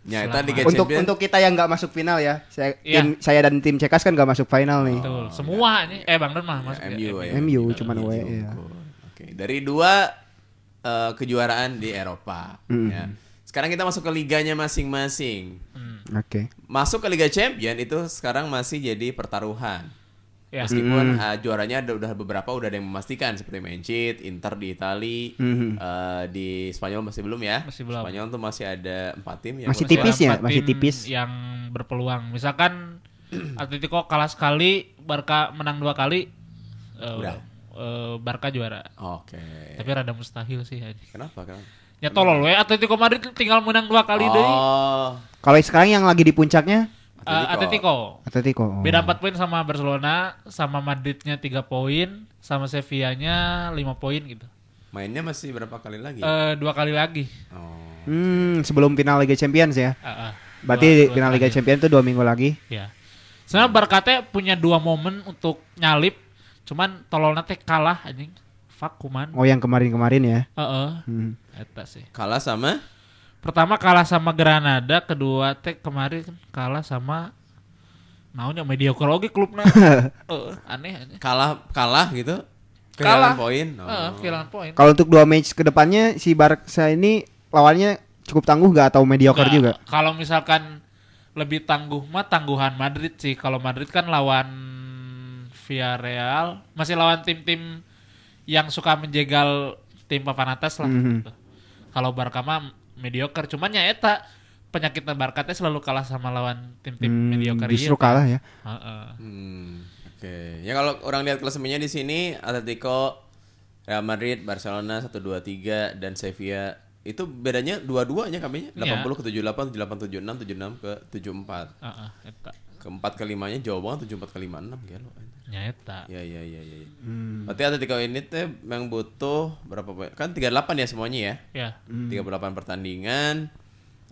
A: Nyata
B: Selamat.
A: Liga
C: Untuk
A: Champions.
C: untuk kita yang nggak masuk final ya. Saya
B: Iya.
C: tim- saya dan tim Cekas kan nggak masuk final
A: Oh,
C: nih.
B: Betul,
A: iya.
B: semua ini. Eh Bang Don mah masuk ya,
A: MU, ya.
C: MU, cuman
A: Iya,
C: away,
A: Liga
C: iya.
A: Champions. Oke, dari dua eh, kejuaraan di Eropa. ya. Sekarang kita masuk ke liganya masing-masing.
C: Oke.
A: Masuk ke Liga Champion itu sekarang masih jadi pertaruhan.
B: Ya.
A: Meskipun uh, juaranya ada, udah beberapa udah ada yang memastikan seperti Manchester, Inter di Itali, uh, di Spanyol masih belum ya.
B: Masih belum.
A: Spanyol tuh masih ada empat tim yang
C: Masih
A: lolos
C: tipis
A: ya.
C: ya?
B: Empat
C: Masih
B: tim
C: tipis.
B: Yang berpeluang. Misalkan Atletico kalah sekali, Barca menang dua kali, eh,
A: Udah.
B: eh, Barca juara.
A: Oke.
B: Tapi rada mustahil sih. anjing.
A: Kenapa? Kenapa?
B: Ya tolol we, Atletico Madrid tinggal menang dua kali deh.
A: oh,
C: Kalau sekarang yang lagi di puncaknya
B: Eh, Atletico.
C: Atletico. Oh.
B: Beda 4 poin sama Barcelona, sama Madridnya 3 poin, sama Sevillanya 5 poin gitu.
A: mainnya masih berapa kali lagi?
B: Eh dua kali lagi.
A: oh.
C: Hmm, sebelum final Liga Champions ya.
B: Ah, ah. Dua-
C: Berarti
B: dua
C: final Liga
B: terakhir.
C: Champions itu dua minggu lagi.
B: Ya. Sebenarnya Barca teh punya dua momen untuk nyalip, cuman tololnya teh kalah anjing. Fuck kuman.
C: Oh, yang kemarin-kemarin ya.
B: Heeh.
C: Hmm.
B: Eta sih.
A: Kalah sama
B: Pertama kalah sama Granada, kedua teh kemarin kalah sama naonnya mediocre oge klubna. Heeh, eh, aneh aneh.
A: kalah kalah gitu.
B: Kalah.
A: Kehilangan poin. Oh.
B: Heeh, kehilangan poin.
C: Kalau untuk dua match kedepannya si Barca ini lawannya cukup tangguh gak atau mediocre
B: Nggak,
C: juga?
B: Nah, Kalau misalkan lebih tangguh mah tangguhan Madrid sih. Kalau Madrid kan lawan Villarreal, masih lawan tim-tim yang suka menjegal tim papan atas lah.
C: Mhm.
B: gitu. Kalau Barca mah mediocre, cuman ya eta penyakitnya Barca teh selalu kalah sama lawan tim-tim
C: Hmm,
B: mediocre iya,
C: justru
B: ieu.
C: kalah ya.
B: Heeh.
A: Hmm, Oke. Ya kalau orang lihat klasemennya di sini Atletico, Real Madrid, Barcelona 1 2 3 dan Sevilla itu bedanya dua-duanya kan, kaminya
B: Iya.
A: 80 ke 78, 78 76, 76 ke 74.
B: Heeh, eta.
A: Keempat kelimanya jauh banget 74 ke 56 gelo.
B: Nya eta.
A: Ya ya ya ya. ya. Berarti Atletico ini tuh memang butuh berapa poin? Kan 38 ya semuanya ya.
B: Ya.
A: 38 pertandingan.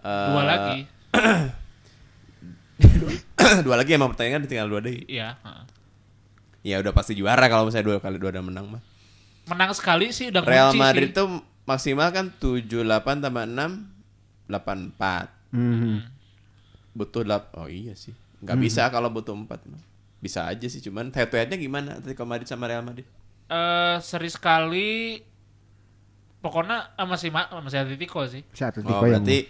B: Dua
A: Eh,
B: lagi.
A: dua lagi emang pertandingan tinggal dua deh.
B: Iya, heeh.
A: Ya udah pasti juara kalau misalnya dua kali dua ada menang mah.
B: Menang sekali sih udah
A: Real
B: ngunci
A: Madrid
B: sih.
A: tuh maksimal kan 78 tambah 6 84.
C: Mhm.
A: Butuh 8. Oh iya sih. Nggak bisa kalau butuh 4. Bisa aja sih cuman head to headnya gimana Atletico Madrid sama Real Madrid?
B: eh seri sekali pokoknya eh, masih ma- masih Atletico sih.
C: Si Atletico
A: Oh,
C: yang
A: berarti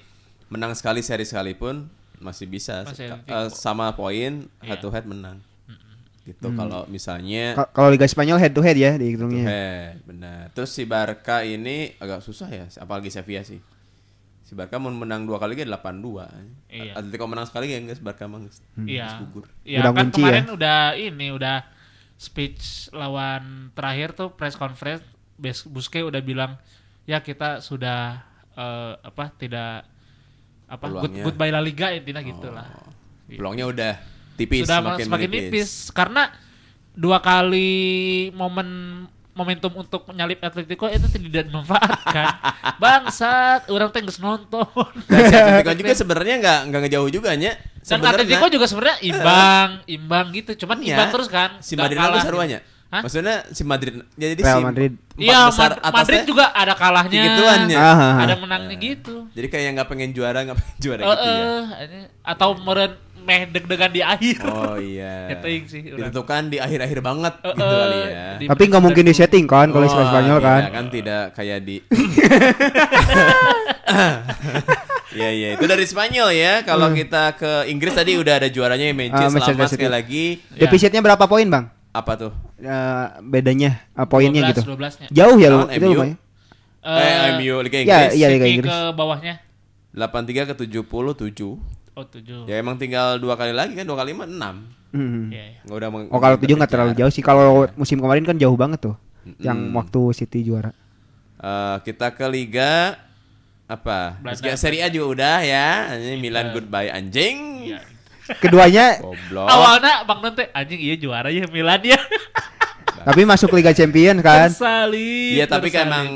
A: menang sekali seri sekalipun masih bisa
B: Masih
A: Seka-
B: Atletico. Iya. Mhm.
A: eh, sama poin head to head menang. Gitu kalau misalnya
C: Hmm. Ka- Kalau Liga Spanyol head to head
A: head
C: ya dihitungnya.
A: benar. Terus si Barca ini agak susah ya apalagi Sevilla sih. Si Barca mau menang dua kali kan 8-2.
B: Iya.
A: Atletico menang sekali ya enggak Barca mah nggak.
C: Hmm.
B: Iya.
A: gugur.
B: Iya
C: Udah
B: kan
C: ngunci
B: kemarin
C: ya.
B: udah ini udah speech lawan terakhir tuh press conference Bes- Busquets udah bilang ya kita sudah eh, apa tidak apa good,
A: Peluangnya. Oh.
B: goodbye La Liga intinya gitulah. Iya.
A: Peluangnya udah tipis,
B: sudah
A: makin,
B: semakin, nipis karena dua kali momen momentum untuk menyalip Atletico itu tidak dimanfaatkan. Bangsat, orang teh geus nonton.
A: Dan si Atletico juga sebenarnya nggak nggak ngejauh juga nya.
B: Dan
A: Sebenarnya
B: Atletico juga sebenarnya imbang, imbang gitu. Cuman
A: ya,
B: imbang terus kan.
A: Si
B: nggak
A: Madrid
B: kalah
A: apa
B: gitu.
A: seruannya?
B: Hah?
A: Maksudnya si Madrid ya jadi
C: Real
A: si
C: Madrid.
A: empat
B: Iya,
A: besar
B: Mad-
A: atasnya
B: Madrid juga ada kalahnya.
A: digituan ya.
C: Ah, ah,
B: Ada
C: ah.
B: menangnya gitu.
A: Jadi kayak yang nggak pengen juara nggak pengen juara
B: Eh,
A: gitu ya.
B: eh, ini. atau meren meh deg-degan di akhir.
A: Oh iya.
B: Itu yang sih, orang.
A: Ditentukan di akhir-akhir banget
B: Eh,
A: gitu kali
B: eh,
A: ya.
B: di
C: Tapi nggak mungkin di setting kan kalau Liga
A: Wah,
C: Spanyol
A: tidak,
C: kan.
A: tidak kayak di Iya iya itu dari Spanyol ya. Kalau kita ke Inggris tadi udah ada juaranya yang Manchester,
C: Hmm. Ah, Manchester
A: lama
C: City.
A: sekali lagi
C: Defisitnya berapa poin bang?
A: apa tuh?
C: Eh, bedanya eh,
B: 12,
C: poinnya gitu.
B: 12-nya.
C: Jauh ya lu
A: Lawan
C: itu
A: MU.
C: lumayan.
A: eh MU Liga
C: ya,
A: Inggris.
C: iya, Liga
B: City
C: Inggris.
B: ke bawahnya.
A: 83 ke 77.
B: Oh, 7.
A: Ya emang tinggal dua kali lagi kan dua kali mah enam.
C: Mhm.
B: Iya, iya.
A: Nggak udah meng-
C: Oh kalau tujuh nggak terlalu
A: kejar.
C: jauh sih. Kalau musim kemarin kan jauh banget tuh. Yang waktu City juara.
A: Eh, kita ke liga apa?
B: Belanda.
A: Liga Serie A juga udah ya. Ini Milan goodbye anjing.
B: Iya.
C: Keduanya
A: Goblok.
B: Awalnya Bang Nante anjing iya juara ya Milan ya.
C: tapi masuk Liga Champion kan.
B: Tersalin.
A: Iya tapi kan
B: tersalin.
A: emang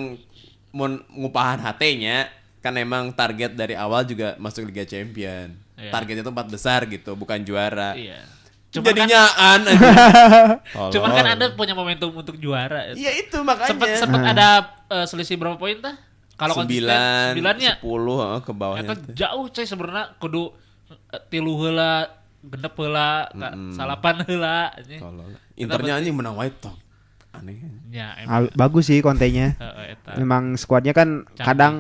A: mun ngupahan HT-nya kan emang target dari awal juga masuk Liga Champion.
B: Iya.
A: Targetnya tuh empat besar gitu, bukan juara.
B: Iya. Cuma
A: Jadinya kan. an.
B: kan, cuma kan Anda punya momentum untuk juara. ya.
A: Iya itu makanya. Hmm.
B: Sempet sempet ada eh, selisih berapa poin tah? Kalau konsisten
A: sembilan,
B: sembilannya.
A: sepuluh heeh, ke bawahnya.
B: Eta
A: tuh.
B: jauh coy sebenarnya kudu eh, tilu heula, genep heula, ka-
A: Hmm.
B: salapan heula anjing.
A: Tolol. Internya anjing menang white top. Aneh. kan?
B: Ya, emang.
C: Ah, bagus sih kontennya.
B: Heeh, eta.
C: Memang skuadnya kan
B: Canggih.
C: kadang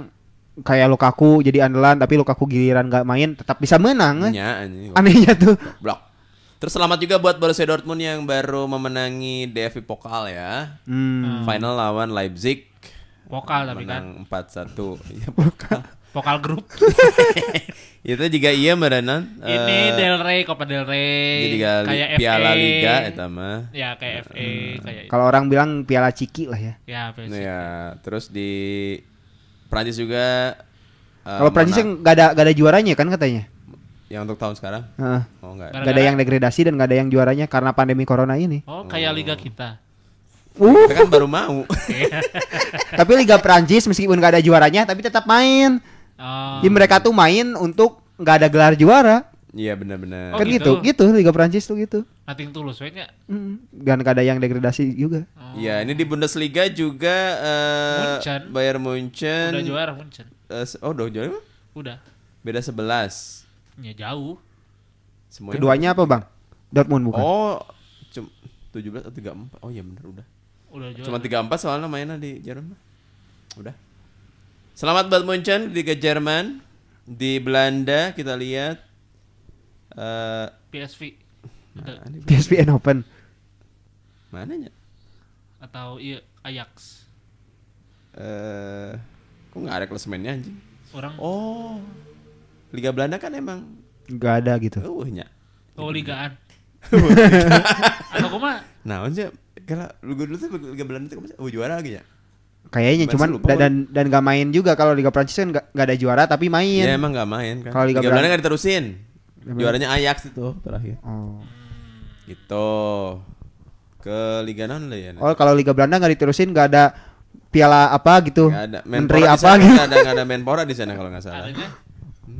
C: kayak Lukaku jadi andalan tapi Lukaku giliran nggak main tetap bisa menang. eh.
A: Nya anjing.
C: Anehnya tuh.
A: Blok. Terus selamat juga buat Borussia Dortmund yang baru memenangi DFB Pokal ya.
C: Hmm.
A: Final lawan Leipzig
B: Vokal tapi kan.
A: menang 4-1. Iya, Pokal.
B: Vokal grup.
A: Itu juga iya merenan.
B: Ini Del Rey, Copa Del Rey.
A: Eh. jadi gal-
B: kayak
A: Piala
B: FA.
A: Liga eta Hmm. mah.
B: Ya kayak FA, kayak
C: Kalau orang bilang piala ciki lah ya.
B: ya PSG.
A: Nah, ya, terus di Prancis juga eh,
C: Kalau Prancis
A: menang-
C: yang nggak ada nggak ada juaranya kan katanya.
A: yang untuk tahun sekarang?
C: Heeh.
A: Oh enggak.
B: Gara-
C: Nggak ada ya? yang degradasi dan nggak ada yang juaranya karena pandemi corona ini.
B: Oh, kayak liga kita.
C: Uh,
A: Kita kan baru mau.
C: tapi Liga Prancis meskipun nggak ada juaranya tapi tetap main.
B: Oh.
C: Jadi mereka tuh main untuk nggak ada gelar juara.
A: Iya benar-benar.
B: Oh,
C: kan
B: gitu.
C: gitu. gitu, Liga Prancis tuh gitu.
B: Nothing tulus we
C: Mm, Dan nggak ada yang degradasi juga.
A: Iya, ini di Bundesliga juga eh
B: Munchen.
A: Bayern Munchen.
B: Udah juara Munchen.
A: eh, se- oh, udah juara. emang?
B: Udah.
A: Beda 11.
B: Ya jauh.
A: Semuanya.
C: Keduanya apa bang? Dortmund bukan?
A: Oh, cum- 17 atau 34. Oh iya benar udah.
B: Udah juara.
A: Cuma 34 soalnya mainnya di Jerman. Udah. Selamat buat Munchen di Liga Jerman. Di Belanda kita lihat eh
B: PSV. Udah.
C: PSVN Open.
A: mananya?
B: atau iya Ajax.
A: Eh kok nggak ada klasemennya anjing?
B: Orang oh,
A: Oh. Liga Belanda kan emang
C: Nggak ada gitu.
A: eueuhnya.
B: ligaan. atau kuma
A: Nah, aja kalau lu dulu tuh Liga Belanda tuh kemarin oh juara lagi ya?
C: Kayaknya
A: Bahasa
C: cuman
A: lupa
C: da-
A: gua.
C: dan dan nggak main juga kalau Liga Prancis kan nggak nggak ada juara tapi main.
A: Ya emang nggak main kan.
C: Iya. Kalau Liga
A: Liga, Belanda
C: Belanda-
A: nggak diterusin. Juaranya Ajax itu terakhir.
C: Oh.
A: Gitu. Ke Liga non lah ya.
C: Oh kalau Liga Belanda nggak diterusin nggak ada piala apa gitu.
A: Nggak ada
C: Menteri
A: Menpora di
C: apa
A: sana,
C: gitu.
A: nggak ada nggak ada Menpora di sana kalau nggak salah.
B: adanya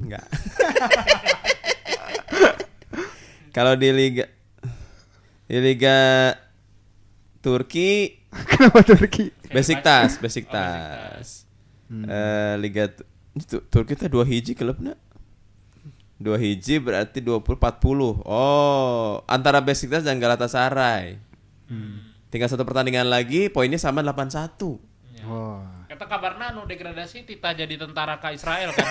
A: Enggak. kalau di Liga di Liga Turki
C: Kenapa Turki?
A: Besiktas, Besiktas.
C: Hmm.
A: Eh, Liga Tu- itu Turki kita dua hiji klubnya. Dua hiji berarti 20 40. Oh, antara Besiktas dan Galatasaray.
C: Hmm.
A: Tinggal satu pertandingan lagi, poinnya sama 81.
C: Oh.
B: kata kabarna nu degradasi tita jadi tentara ke Israel kan.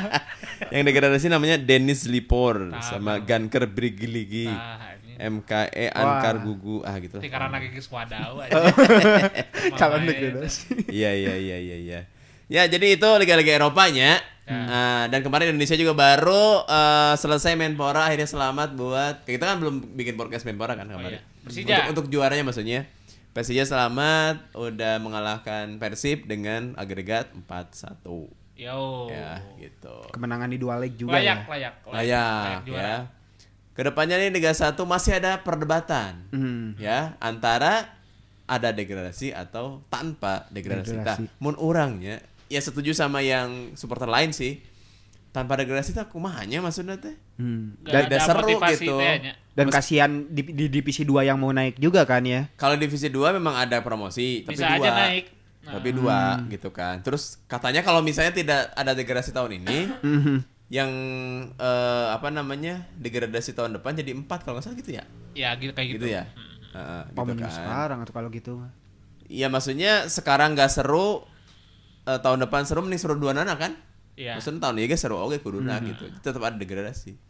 A: Yang degradasi namanya Dennis Lipor
B: Tahu.
A: sama Ganker Brigiligi.
B: Nah, ini
A: MKE E, Ankar Gugu ah gitu.
B: ti
A: lah.
B: karena ke swadau aja.
C: Kalau
B: Mamae,
C: degradasi.
A: Iya iya iya iya iya. Ya jadi itu liga-liga Eropanya.
B: Ya.
A: Ah, dan kemarin Indonesia juga baru eh, selesai Menpora akhirnya selamat buat kita kan belum bikin podcast Menpora kan kemarin.
B: iya. Persija.
A: Untuk, untuk juaranya maksudnya. Persija selamat udah mengalahkan Persib dengan agregat 4-1.
B: Yo.
A: Ya gitu.
C: Kemenangan di dua leg juga
B: Layak,
C: ya.
B: layak,
A: Layak Nah,
B: juara.
A: ya. Kedepannya nih Liga 1 masih ada perdebatan.
C: Hmm.
A: ya antara ada degradasi atau tanpa degradasi. Tah,
C: Degradasi.
A: mun orangnya ya setuju sama yang supporter lain sih. Tanpa degradasi tak kumahanya maksudnya teh.
C: Hmm.
A: Dan-
B: Nggak ada
A: dan seru
B: motivasi
A: gitu.
B: teh nya.
C: Dan kasihan di, di divisi 2 yang mau naik juga kan ya.
A: Kalau divisi 2 memang ada promosi, tapi
B: Bisa
A: dua.
B: aja naik. Nah.
A: Tapi dua
C: Hmm.
A: gitu kan. Terus katanya kalau misalnya tidak ada degradasi tahun ini,
C: Hmm,
A: yang eh, apa namanya? degradasi tahun depan jadi empat kalau nggak salah gitu ya.
B: Ya gitu kayak gitu.
A: Gitu, ya. Heeh,
C: Mau
A: gitu
C: mending
A: kan.
C: sekarang atau kalau gitu mah.
A: Iya maksudnya sekarang nggak seru eh, tahun depan seru mending seru dua nana kan?
B: Iya. Hmm.
A: Maksudnya tahun ini seru oke kuduna gitu. Tetap ada degradasi.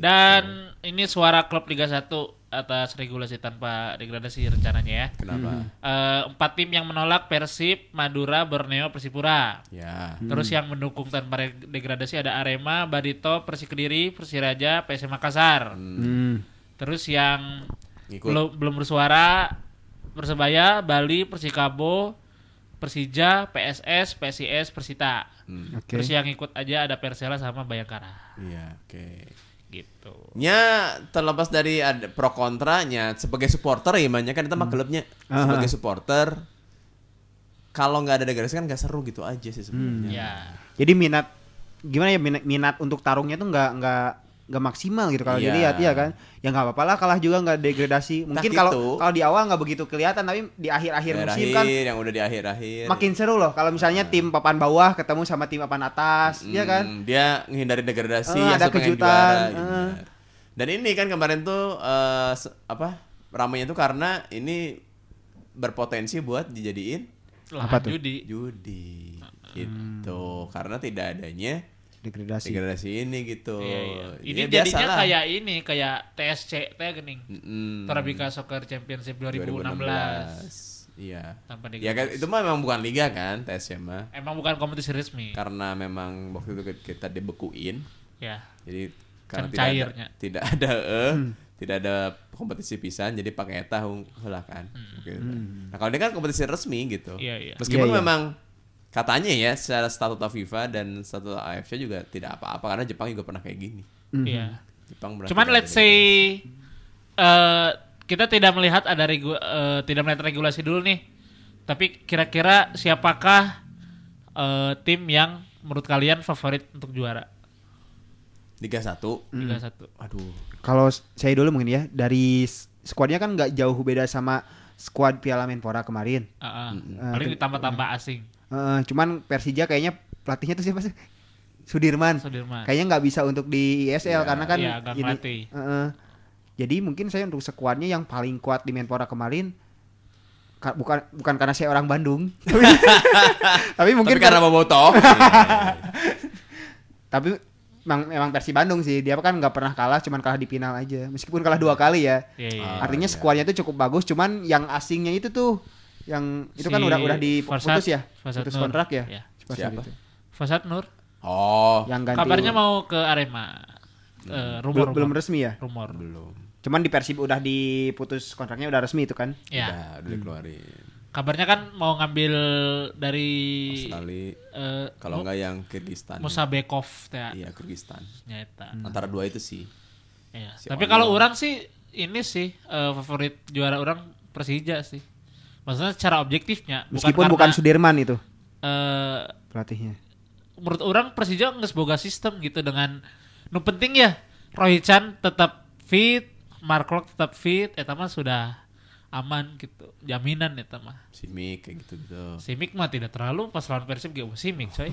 B: Dan ini suara klub Liga 1 atas regulasi tanpa degradasi rencananya ya.
A: Kenapa?
B: Eh, empat tim yang menolak Persib, Madura, Borneo, Persipura.
A: Ya.
C: Hmm.
B: Terus yang mendukung tanpa re- degradasi ada Arema, Barito, Persikediri, Persiraja, PSM Makassar.
C: Hmm.
B: Terus yang
A: Ngikut.
B: belum belum bersuara Persebaya, Bali, Persikabo, Persija, PSS, PSIS, Persita.
A: Hmm.
C: Oke.
B: Terus ya. yang ikut aja ada Persela sama Bayangkara
A: Iya, oke.
B: gitu.
A: Nya terlepas dari ada pro kontranya sebagai supporter ya banyak kan itu mah klubnya
C: Aha.
A: sebagai supporter kalau nggak ada degarasi kan nggak seru gitu aja sih sebenarnya.
C: Hmm.
B: Ya.
C: Jadi minat gimana ya minat, minat untuk tarungnya tuh nggak nggak nggak maksimal gitu kalau
A: Iya.
C: dilihat ya kan ya nggak apa-apa lah kalah juga nggak degradasi
A: Entah
C: mungkin
A: gitu.
C: kalau kalau di awal nggak begitu kelihatan tapi di akhir-akhir musim kan
A: Akhir-akhir, yang udah di akhir-akhir.
C: makin seru loh kalau misalnya tim papan bawah ketemu sama tim papan atas ya kan
A: Hmm, dia menghindari degradasi
C: Eh,
A: yang
C: ada
A: suka pengen
C: kejutan,
A: juara, gitu.
C: eh.
A: Dan ini kan kemarin tuh eh, se- apa ramainya tuh karena ini berpotensi buat dijadiin
B: Lahan
C: Apa tuh?
B: judi.
A: judi gitu karena tidak adanya
C: Hmm. degradasi
A: degradasi ini gitu.
B: Iya, iya. Ini
A: Ya,
B: jadinya
A: biasalah.
B: kayak ini, kayak TSC, teh gening.
A: Mm-mm.
B: Torabika Soccer Championship 2016.
A: Iya.
B: Tanpa
A: Ya kan
B: degradasi. Eh.
A: itu mah memang bukan liga kan TSC mah.
B: Emang bukan kompetisi resmi.
A: Karena memang waktu itu kita dibekuin.
B: Ya.
A: Jadi
B: Kan
A: karena
B: cairnya.
A: tidak ada, tidak ada eh, tidak ada kompetisi pisan jadi pakai tahu heula kan. Gitu. Nah, kalau dia kan kompetisi resmi gitu.
B: Hmm. Iya, iya.
A: Meskipun
C: Iya, iya.
A: memang katanya ya secara statuta FIFA dan statuta AFC juga tidak apa-apa karena Jepang juga pernah kayak gini.
C: Mhm.
B: Iya.
A: Jepang pernah
B: Cuman
A: tidak
B: let's
A: ada
B: say
A: gini.
B: eh kita tidak melihat ada regu eh, tidak melihat regulasi dulu nih. Tapi kira-kira siapakah eh, tim yang menurut kalian favorit untuk juara
A: Liga 1.
C: Mhm.
B: Liga 1?
A: Aduh.
C: kalau s- saya dulu mungkin ya dari s- skuadnya kan nggak jauh beda sama skuad Piala Menpora kemarin
B: Ah, ah.
A: Mhm.
C: Eh,
B: Paling
C: ke-
B: ditambah-tambah asing.
C: Eh, cuman Persija kayaknya pelatihnya tuh siapa sih Sudirman
B: Sudirman.
C: kayaknya nggak bisa untuk di ISL karena kan
B: Iya, nggak
C: ini-
B: ngelatih.
C: Heeh. jadi mungkin saya untuk skuadnya yang paling kuat di Menpora kemarin ka- bukan bukan karena saya orang Bandung tapi, tapi mungkin
A: Mungkin Tapi karena
C: kar-
A: Boboto. Iya.
C: tapi memang, memang Persi Bandung sih dia kan nggak pernah kalah cuman kalah di final aja meskipun kalah dua kali ya
B: Iya, iya.
A: Ah,
C: artinya
A: iya.
C: skuadnya tuh cukup bagus cuman yang asingnya itu tuh yang itu kan
B: Si
C: udah udah diputus
B: Farsad-
C: ya
B: Farsad
C: putus
B: Nur.
C: kontrak ya
B: Iya.
A: Siapa?
C: Itu.
B: Fasad Nur
A: Oh,
C: yang ganti
B: kabarnya mau ke Arema. Eh,
A: Hmm.
B: rumor,
C: belum, belum
B: rumor.
C: resmi ya
B: rumor.
A: belum.
C: cuman di Persib udah diputus kontraknya udah resmi itu kan
B: Ya.
A: Udah, udah dikeluarin.
B: Kabarnya kan mau ngambil dari
A: Australia.
B: eh,
A: Kalau
B: Mu-
A: enggak yang Kyrgyzstan.
B: Musabekov teh
A: Iya, Kyrgyzstan.
B: nyata.
A: Antara dua itu sih.
B: Iya.
A: Si
B: Tapi
A: Onel.
B: kalau orang sih ini sih eh, favorit juara orang Persija sih. Maksudnya secara objektifnya
C: meskipun bukan,
B: karena,
C: Sudirman itu
B: eh,
C: pelatihnya
B: menurut orang Persija nggak boga sistem gitu dengan nu penting ya Roy Chan tetap fit, Mark Klok tetap fit, eta mah sudah aman gitu. Jaminan eta mah.
A: Simi kayak gitu-gitu.
B: Simic mah tidak terlalu pas lawan Persib gak Simic coy.
C: Eh,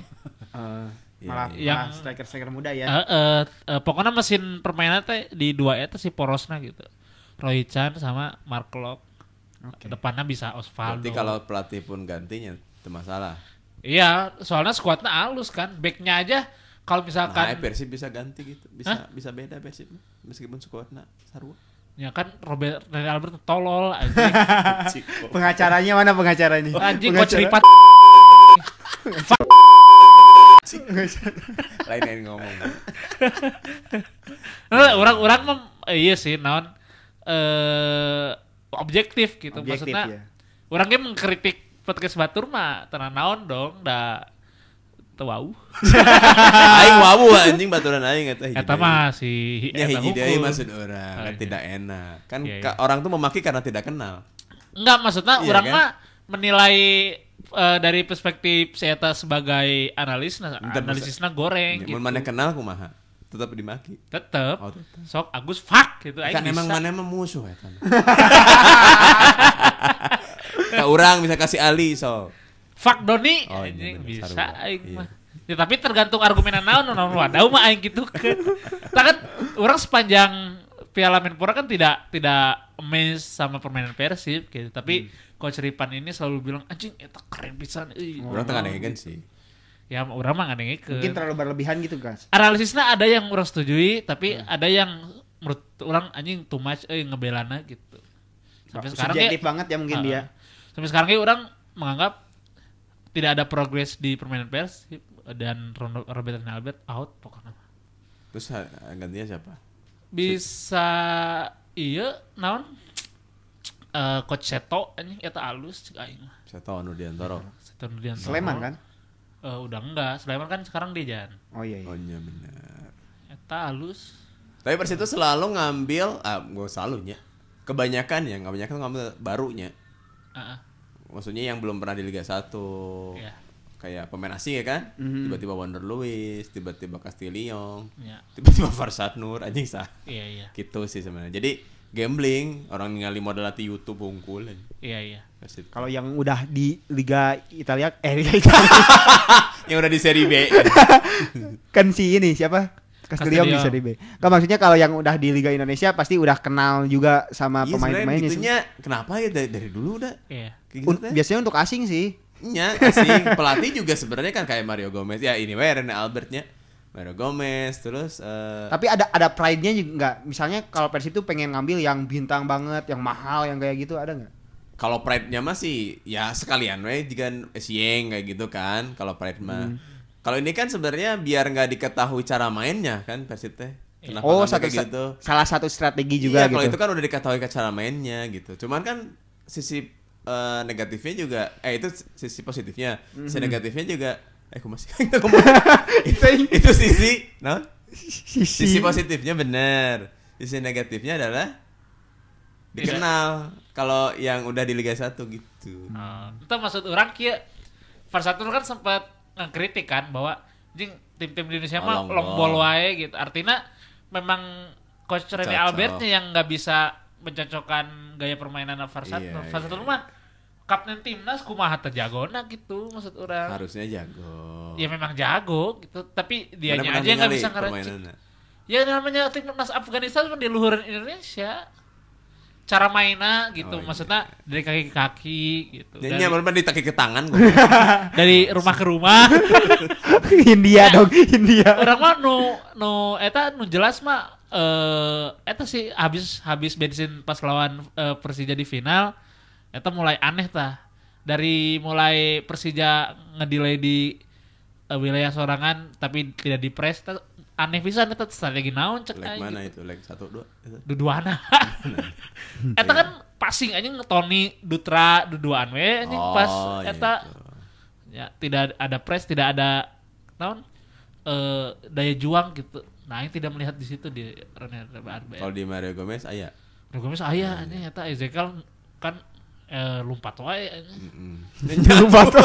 A: Iya,
C: malah,
B: iya.
C: malah striker-striker muda ya
B: Eh, eh, eh, pokoknya mesin permainan teh di dua eta si porosna gitu. Roy Chan sama Mark Locke. Depannya bisa Osvaldo.
A: Berarti kalau pelatih pun gantinya itu masalah.
B: Iya, soalnya skuadnya halus kan. Backnya aja kalau
A: Nah,
B: misalkan
A: Persib bisa ganti gitu. Bisa bisa beda Persib. Meskipun skuadna sarua.
B: ya kan Robert Rene Albert tolol anjing.
A: Ciko.
C: pengacaranya mana pengacaranya
B: Anjing coach
C: Pengacara-
B: Ripat.
A: Lain-lain ngomong.
B: Eh, Orang-orang mem eh, iya sih naon eh objektif gitu
C: Objektif,
B: maksudnya.
A: iya.
C: ya.
B: Orangnya mengkritik podcast Batur mah tenan naon dong da teu
A: aing wawu anjing baturan aing eta hiji
B: Eta
A: deui.
B: mah si
A: Iya, Ya
B: eta
A: hiji deui
B: hukum.
A: maksud orang,
B: Oh,
A: kan
B: iya.
A: tidak enak. Kan
B: Iya,
A: ka- orang tuh memaki karena tidak kenal.
B: Enggak maksudnya
A: Iya,
B: orang
A: kan?
B: mah menilai eh, dari perspektif si eta sebagai analis, nah,
A: Bentar,
B: analisisnya goreng
A: Mun Ya,
B: gitu.
A: mana kenal kumaha? Tetap dimaki.
B: Tetep.
A: Oh, tetep.
B: Sok Agus fuck gitu.
A: kan
B: aing
A: emang
B: bisa.
A: mana emang musuh ya kan. Ka urang bisa kasih Ali so.
B: Fuck Doni
A: Oh, iya,
B: anjing,
A: bener,
B: bisa
A: sarua.
B: aing
A: Iya.
B: mah. Ya, tapi tergantung argumenan naon naon wadau mah aing gitu kan. Tah kan orang sepanjang Piala Menpora kan tidak tidak amazed sama permainan Persib gitu.
A: Hmm.
B: Tapi coach Ripan ini selalu bilang anjing eta keren pisan euy."
A: Urang tengah kan? nengen sih.
B: Ya orang mah ngadengikeun.
C: mungkin terlalu berlebihan gitu guys
B: analisisnya ada yang orang setujui tapi
C: Hmm.
B: ada yang menurut orang anjing too much eh ngebelana gitu sampai sekarang
C: subjektif
B: ge-
C: banget ya mungkin
B: Ah,
C: dia
B: sampai sekarang ge orang menganggap tidak ada progres di permainan pers dan Ron- Robert dan Albert out pokoknya
A: Terus ha- gantinya siapa?
B: bisa iya naon Eh eh, coach Seto anjing eta alus cek aing. mah.
A: Saya tahu Nudiantoro.
B: Seto Nurdiantono.
A: Oh.
C: Sleman kan?
B: Eh, udah enggak. Sleman kan sekarang dia Jan.
C: Oh iya iya.
A: Oh iya benar.
B: Eta alus.
A: Tapi Persitu selalu ngambil, ah, gue selalunya. Kebanyakan ya, kebanyakan ngambil barunya.
B: Heeh.
A: Maksudnya yang belum pernah di Liga 1.
B: Iya. Mhm.
A: Kayak pemain asing ya kan? Tiba-tiba Wander Lewis, tiba-tiba Castillion,
B: Iya.
A: tiba-tiba Farsad Nur, anjing sah.
B: Iya iya.
A: Gitu sih sebenarnya. Jadi gambling, orang ningali modal di YouTube bungkul. anjing.
B: Iya iya.
A: Persib.
C: Kalau yang udah di Liga Italia eh Liga Italia
A: Yang udah di seri B. Iya,
C: kan si ini siapa? Castillo
B: Castillo.
C: bisa di B. Kan maksudnya kalau yang udah di Liga Indonesia pasti udah kenal juga sama
A: Iya, sebenarnya
C: pemain-pemainnya.
A: gitunya, kenapa ya dari, dari dulu udah
B: gitu. Iya.
A: kayak gitu
C: Un-
A: teh?
C: biasanya untuk asing sih.
A: nya asing pelatih juga sebenarnya kan kayak Mario Gomez ya ini weh Rene Albertnya Mario Gomez terus eh
C: Tapi ada ada pride-nya juga nggak? Misalnya kalau Persib tuh pengen ngambil yang bintang banget, yang mahal, yang kayak gitu ada nggak?
A: kalau pride nya masih ya sekalian weh jika Sieng kayak gitu kan kalau pride mah
C: Hmm.
A: kalau ini kan sebenarnya biar nggak diketahui cara mainnya kan Persib teh Kenapa ngambil
C: oh, satu
A: kayak gitu
C: salah satu strategi
A: iya,
C: juga
A: kalau
C: gitu.
A: itu kan udah diketahui ke cara mainnya gitu. Cuman kan sisi eh, negatifnya juga eh itu sisi positifnya.
C: Hmm.
A: Sisi negatifnya juga eh aku masih ngomong. itu, itu sisi nah? no?
C: Sisi.
B: Iya.
A: Sisi positifnya bener Sisi negatifnya adalah dikenal kalau yang udah di Liga 1 gitu.
B: Nah, itu maksud orang kia Versatur kan sempat ngekritik kan bahwa jing tim-tim di Indonesia mah
A: Oh, long
B: long ball
A: ball.
B: wae gitu. Artinya memang coach Rene
A: Cocok.
B: Albertnya yang nggak bisa mencocokkan gaya permainan Versatur.
A: Iya,
B: Versatur
A: iya.
B: mah kapten timnas kumaha teu jagona gitu maksud orang.
A: Harusnya jago.
B: Ya memang jago gitu, tapi dianya
A: Mana-mana
B: aja yang nggak
A: ningali
B: bisa ngeracik.
A: permainannya.
B: Ya namanya timnas Afghanistan kan di luhurin Indonesia. Cara mainnya
A: Oh,
B: gitu,
A: iya.
B: maksudnya dari kaki ke kaki gitu. Iya,
A: Ya,
B: Dari-
A: nyaman banget ditaki ke tangan gua.
B: dari rumah ke rumah
C: India dong, India.
B: orang mah nu nu eta nu jelas mah eh eta sih habis habis bensin pas lawan eh, Persija di final eta mulai aneh tah dari mulai Persija ngedelay di eh, wilayah sorangan tapi tidak di press tah, aneh pisan eta strategi naon cek
A: Leg
B: aing
A: mana
B: gitu.
A: itu? Leg 1 2.
B: duduana eta kan passing anjing Tony Dutra duduan we anjing pas
A: Oh, iya,
B: eta ya tidak ada press tidak ada naon eh, daya juang gitu nah yang tidak melihat di situ di Rene
A: Kalau iya.
B: Arbet
A: di Mario Gomez ah, iya. ayah.
B: Rene Gomez ayah ini eta Ezekiel kan eh, lompat wae anjing.
C: Lupa tuh.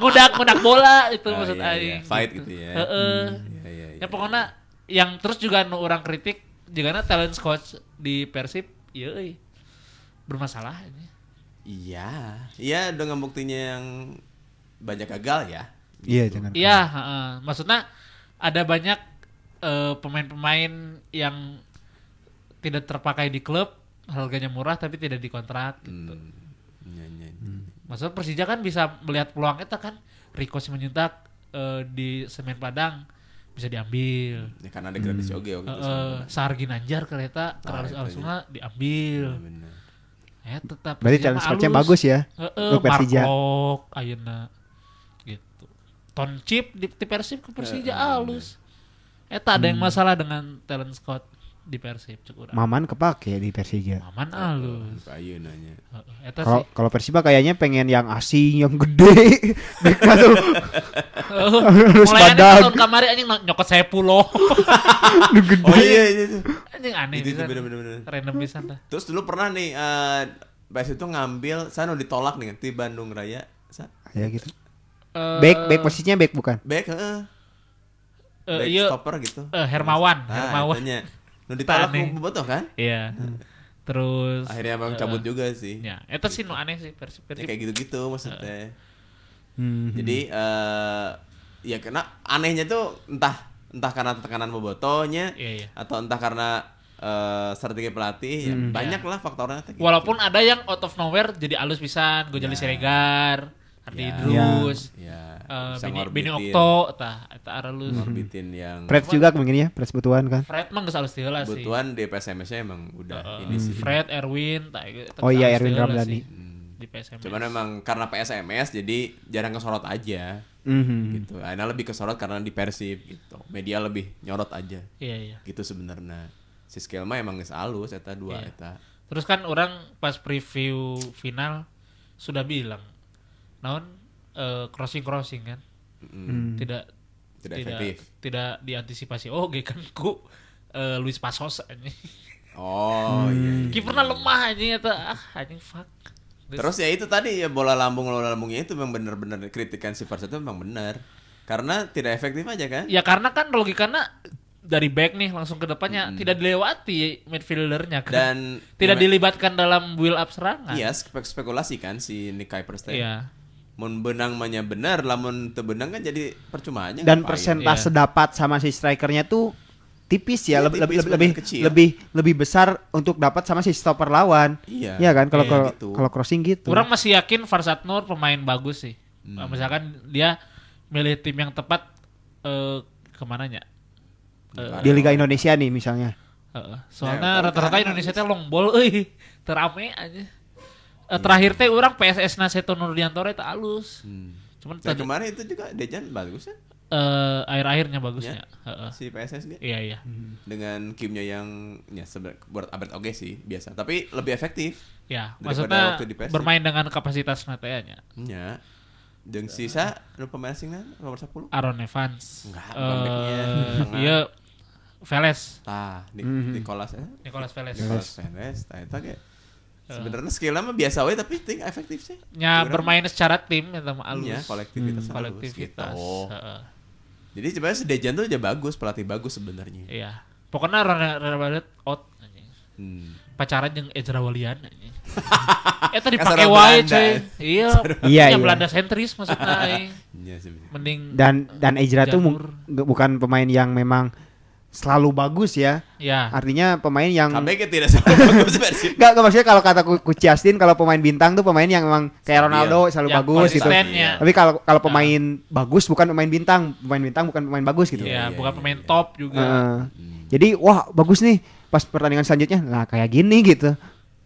B: ngudak ngudak bola itu
A: Oh,
B: maksud
A: iya, iya.
B: aing
A: Fight gitu ya.
B: Heeh.
A: Iya, iya,
B: ya pokoknya yang terus juga nu orang kritik jigana talent coach di Persib ieu euy. bermasalah ini
A: Iya, iya dengan buktinya yang banyak gagal ya.
C: Iya, jangan.
B: Iya, heeh. maksudnya ada banyak eh, pemain-pemain yang tidak terpakai di klub, harganya murah tapi tidak dikontrak.
A: Hmm. Iya, iya, iya.
B: Maksudnya Persija kan bisa melihat peluang itu kan, Rico menyuntak di Semen Padang bisa diambil.
A: Ya, karena ada gratis oge waktu itu.
B: Eh, Sargi Nanjar kereta
A: Nah,
B: terus
A: itu
B: Alsuna diambil.
A: Bener.
B: Eh tetap.
C: Berarti
A: Iya,
B: Persija
C: challenge
B: mah
C: coach-nya
B: halus.
C: bagus ya.
B: Heeh,
C: Untuk Persija.
B: Markok, ayeuna gitu. Toncip di, di Persib ke Persija alus.
A: iya.
B: Eta ada
C: Hmm.
B: yang masalah dengan talent scout di Persib cek urang.
C: Maman kepake di Persija.
B: Maman alus.
A: Ayo nanya.
B: Heeh, Eta
C: Kalau
B: sih.
C: kalau Persiba kayaknya pengen yang asing, yang gede. Back tuh
B: Heeh,
C: Harus
B: Mulai aneh
C: badag.
B: tahun kamari anjing no- nyokot saya pulo.
C: yang gede.
A: Oh iya, iya, iya.
B: anjing aneh
A: Itu- itu
B: pisan.
A: bener-bener.
B: Random pisan dah.
A: Terus dulu pernah nih eh Bas itu ngambil Sano ditolak nih di Bandung Raya. Sa
C: Ya gitu.
B: Eh,
C: Back back posisinya back bukan?
A: back heeh.
B: eh,
A: back
B: iya,
A: stopper gitu.
B: eh, Hermawan, Hermawan.
A: Nah, Nu ditolak
B: Tane.
A: ku bobotoh kan?
B: Iya. Terus
A: Akhirnya emang
B: eh,
A: cabut juga sih.
B: Ya, Eh. eta sih nu aneh sih Persib.
A: Ya,
B: Persib.
A: kayak gitu-gitu maksudnya.
C: Hmm.
A: Jadi
B: Mm-hmm.
A: eh ya kena anehnya tuh entah entah karena tekanan bobotonya
B: Iya, iya.
A: atau entah karena eh, strategi pelatih ya banyak lah faktornya. tuh gitu.
B: Mm-hmm. Walaupun ada yang out of nowhere jadi alus pisan, Gojali
A: Ya.
B: Siregar, Ardi
A: Ya.
B: Idrus,
A: ya
B: eh,
A: bisa
B: Bini, Bini
A: ngorbitin-
B: Okto, Hmm. tah eta alus.
A: ngorbitin yang
C: Press juga mungkin ya, press butuhan kan.
B: Fred mah geus alus teu lah sih.
A: kebutuhan di PSMS-nya emang udah
B: Eh,
A: ini sih. Hmm.
B: Fred, Erwin, tah eta
C: Oh
B: geus
C: iya,
B: alus
C: Erwin
B: teu lah
C: Ramdhani.
B: sih Di PSM.
A: Cuman emang karena PSMS jadi jarang kesorot aja
B: Hmm.
C: Mhm.
A: gitu. Aina lebih kesorot karena di Persib gitu. Media lebih nyorot aja.
B: Iya iya.
A: Gitu sebenarnya. Si skill mah emang geus alus eta dua
B: Iya.
A: eta.
B: Terus kan orang pas preview final sudah bilang, naon crossing crossing kan,
C: Hmm.
B: tidak
A: Hmm. Tidak efektif.
B: tidak diantisipasi. Oh, oke kan ku eh, Luis Pasos anjing.
A: Hmm.
B: Hmm.
A: Oh iya. iya.
B: Kipernya lemah anjing eta ah anjing fuck.
A: Terus ya itu tadi ya bola lambung bola lambungnya itu memang benar-benar kritikan si Fars itu memang benar. Karena tidak efektif aja kan?
B: ya karena kan logikanya dari back nih langsung ke depannya tidak dilewati midfieldernya
A: Hmm.
B: kan.
A: Dan- gimana-
B: tidak dilibatkan dalam build up serangan.
A: Iya, spek spekulasi kan si Nick Kuipers teh.
B: Iya.
A: Mun benang mahnya benar, lamun teu benang kan jadi percuma aja.
C: dan
A: ngapain.
C: persentase dapat sama si strikernya tuh tipis ya,
A: Iya,
C: lebih
A: tipis,
C: lebih lebih,
A: bener, kecil.
C: lebih lebih besar untuk dapat sama si stopper lawan.
A: Iya.
C: kan kalau
A: Iya,
C: kalau-
A: gitu.
C: kalau crossing gitu.
B: Orang masih yakin Farsad Nur pemain bagus sih.
A: Hmm.
B: Nah, Misalkan dia milih tim yang tepat eh kemananya. Eh,
C: di Liga Indonesia nih misalnya.
B: Heeh.
A: Nah,
B: soalnya rata-rata Indonesia teh long ball euy, terame aja.
A: Hmm.
B: Eh, terakhir teh orang PSS Naseto Nurdiantoro itu halus. Cuman
A: Nah,
B: tadi-
A: kemarin itu juga Dejan bagus kan
B: eh, akhir-akhirnya bagusnya.
A: Ya.
B: Heeh.
A: si PSSG
B: Iya iya.
A: dengan kimnya yang ya sebenarnya buat update oke sih biasa tapi lebih efektif
B: Ya,
A: Daripada
B: maksudnya
A: waktu di Persib.
B: bermain dengan kapasitas natanya
A: ya
B: Iya.
A: jeung sisa nu pemain asingna nomor 10
B: Aaron Evans.
A: Enggak, bukan backnya.
B: Eh,
A: Tengah.
B: iya Veles,
A: tah Ah, di
C: Hmm.
A: Nicolas eh
B: Nicolas Veles.
A: Nicolas Perez tah eta
B: Eh.
A: ge nah, sebenarnya skillnya mah biasa wae tapi ting efektif sih
B: Nya
A: Kurang.
B: Ya, bermain secara tim ya sama alus. Hmm,
A: ya kolektivitas halus,
B: kolektivitas.
A: gitu.
B: Heeh.
A: jadi sebenarnya si Dejan tuh aja bagus pelatih bagus sebenarnya
B: Iya. Pokoknya Ronald Ronald out anjing.
A: hmm.
B: pacaran jeung Ezra Walian anjing. Eh, Eta dipake
A: Kasarang
B: wae
A: Belanda,
B: cuy.
A: ya.
B: Iya,
C: Iya,
B: iya
C: iya.
B: Belanda sentris maksudnya aing.
A: ya sebenarnya
B: Mending
C: Dan dan Ezra tuh mung-
B: Hmm. Jalur.
C: nggak- bukan pemain yang memang selalu bagus ya.
B: ya.
C: Artinya pemain yang
A: KB ge tidak sama bagus versi
C: Enggak, maksudnya kalau kata Ku- Coach Justin kalau pemain bintang tuh pemain yang memang
A: Stabil. Ya, Nah.
C: kayak Ronaldo selalu
B: Yang
C: bagus gitu.
B: Ya, konsistennya.
C: Tapi kalau kalau pemain bagus bukan pemain bintang, pemain bintang bukan pemain bagus gitu.
B: Iya,
A: Iya,
B: bukan
A: iya,
B: pemain
A: iya.
B: top juga.
C: Heeh. Jadi wah bagus nih pas pertandingan selanjutnya lah kayak gini gitu.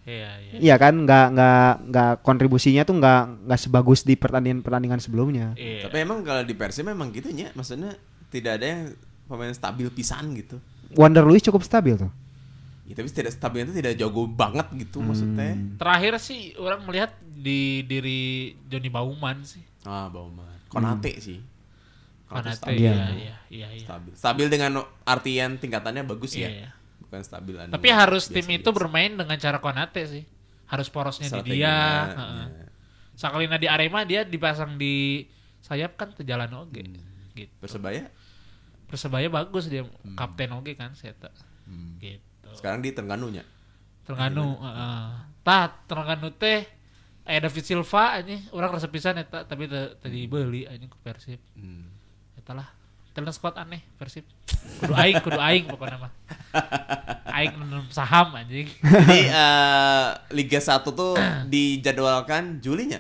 B: Iya, iya.
C: Iya kan nggak nggak nggak kontribusinya tuh nggak nggak sebagus di pertandingan pertandingan sebelumnya.
B: Iya.
A: Tapi emang kalau di Persib memang gitu ya, maksudnya tidak ada yang pemain stabil pisan gitu.
C: Wander Luiz cukup stabil tuh.
A: Ya, tapi tidak stabil itu tidak jago banget gitu maksudnya.
B: Terakhir sih orang melihat di diri Johnny Bauman sih.
A: Ah, Bauman. Konate sih.
B: Konate,
A: stabil.
B: iya, iya, iya, iya.
A: Stabil. Stabil dengan artian tingkatannya bagus ya.
B: Iya.
A: Bukan stabil anu
B: Tapi harus tim
A: biasa-biasa.
B: itu bermain dengan cara Konate sih. Harus porosnya di
A: Strateginya,
B: dia.
A: ya.
B: heeh. Sakalina di Arema dia dipasang di sayap kan terjalan oge.
A: Hmm.
B: Gitu.
A: Persebaya
B: Persebaya bagus dia
A: Hmm.
B: kapten oge kan saya Gitu.
A: sekarang di Tengganunya. Iya,
B: Terengganu, heeh. Tah, Terengganu teh eh David Silva anjing orang resep pisan eta tapi teu teu
A: Hmm.
B: dibeli anjing ku Persib. Eta lah. Talent squad aneh Persib. Kudu aing, kudu aing pokoknya mah. Aing nanam saham anjing.
A: Jadi eh, Liga 1 tuh dijadwalkan Julinya.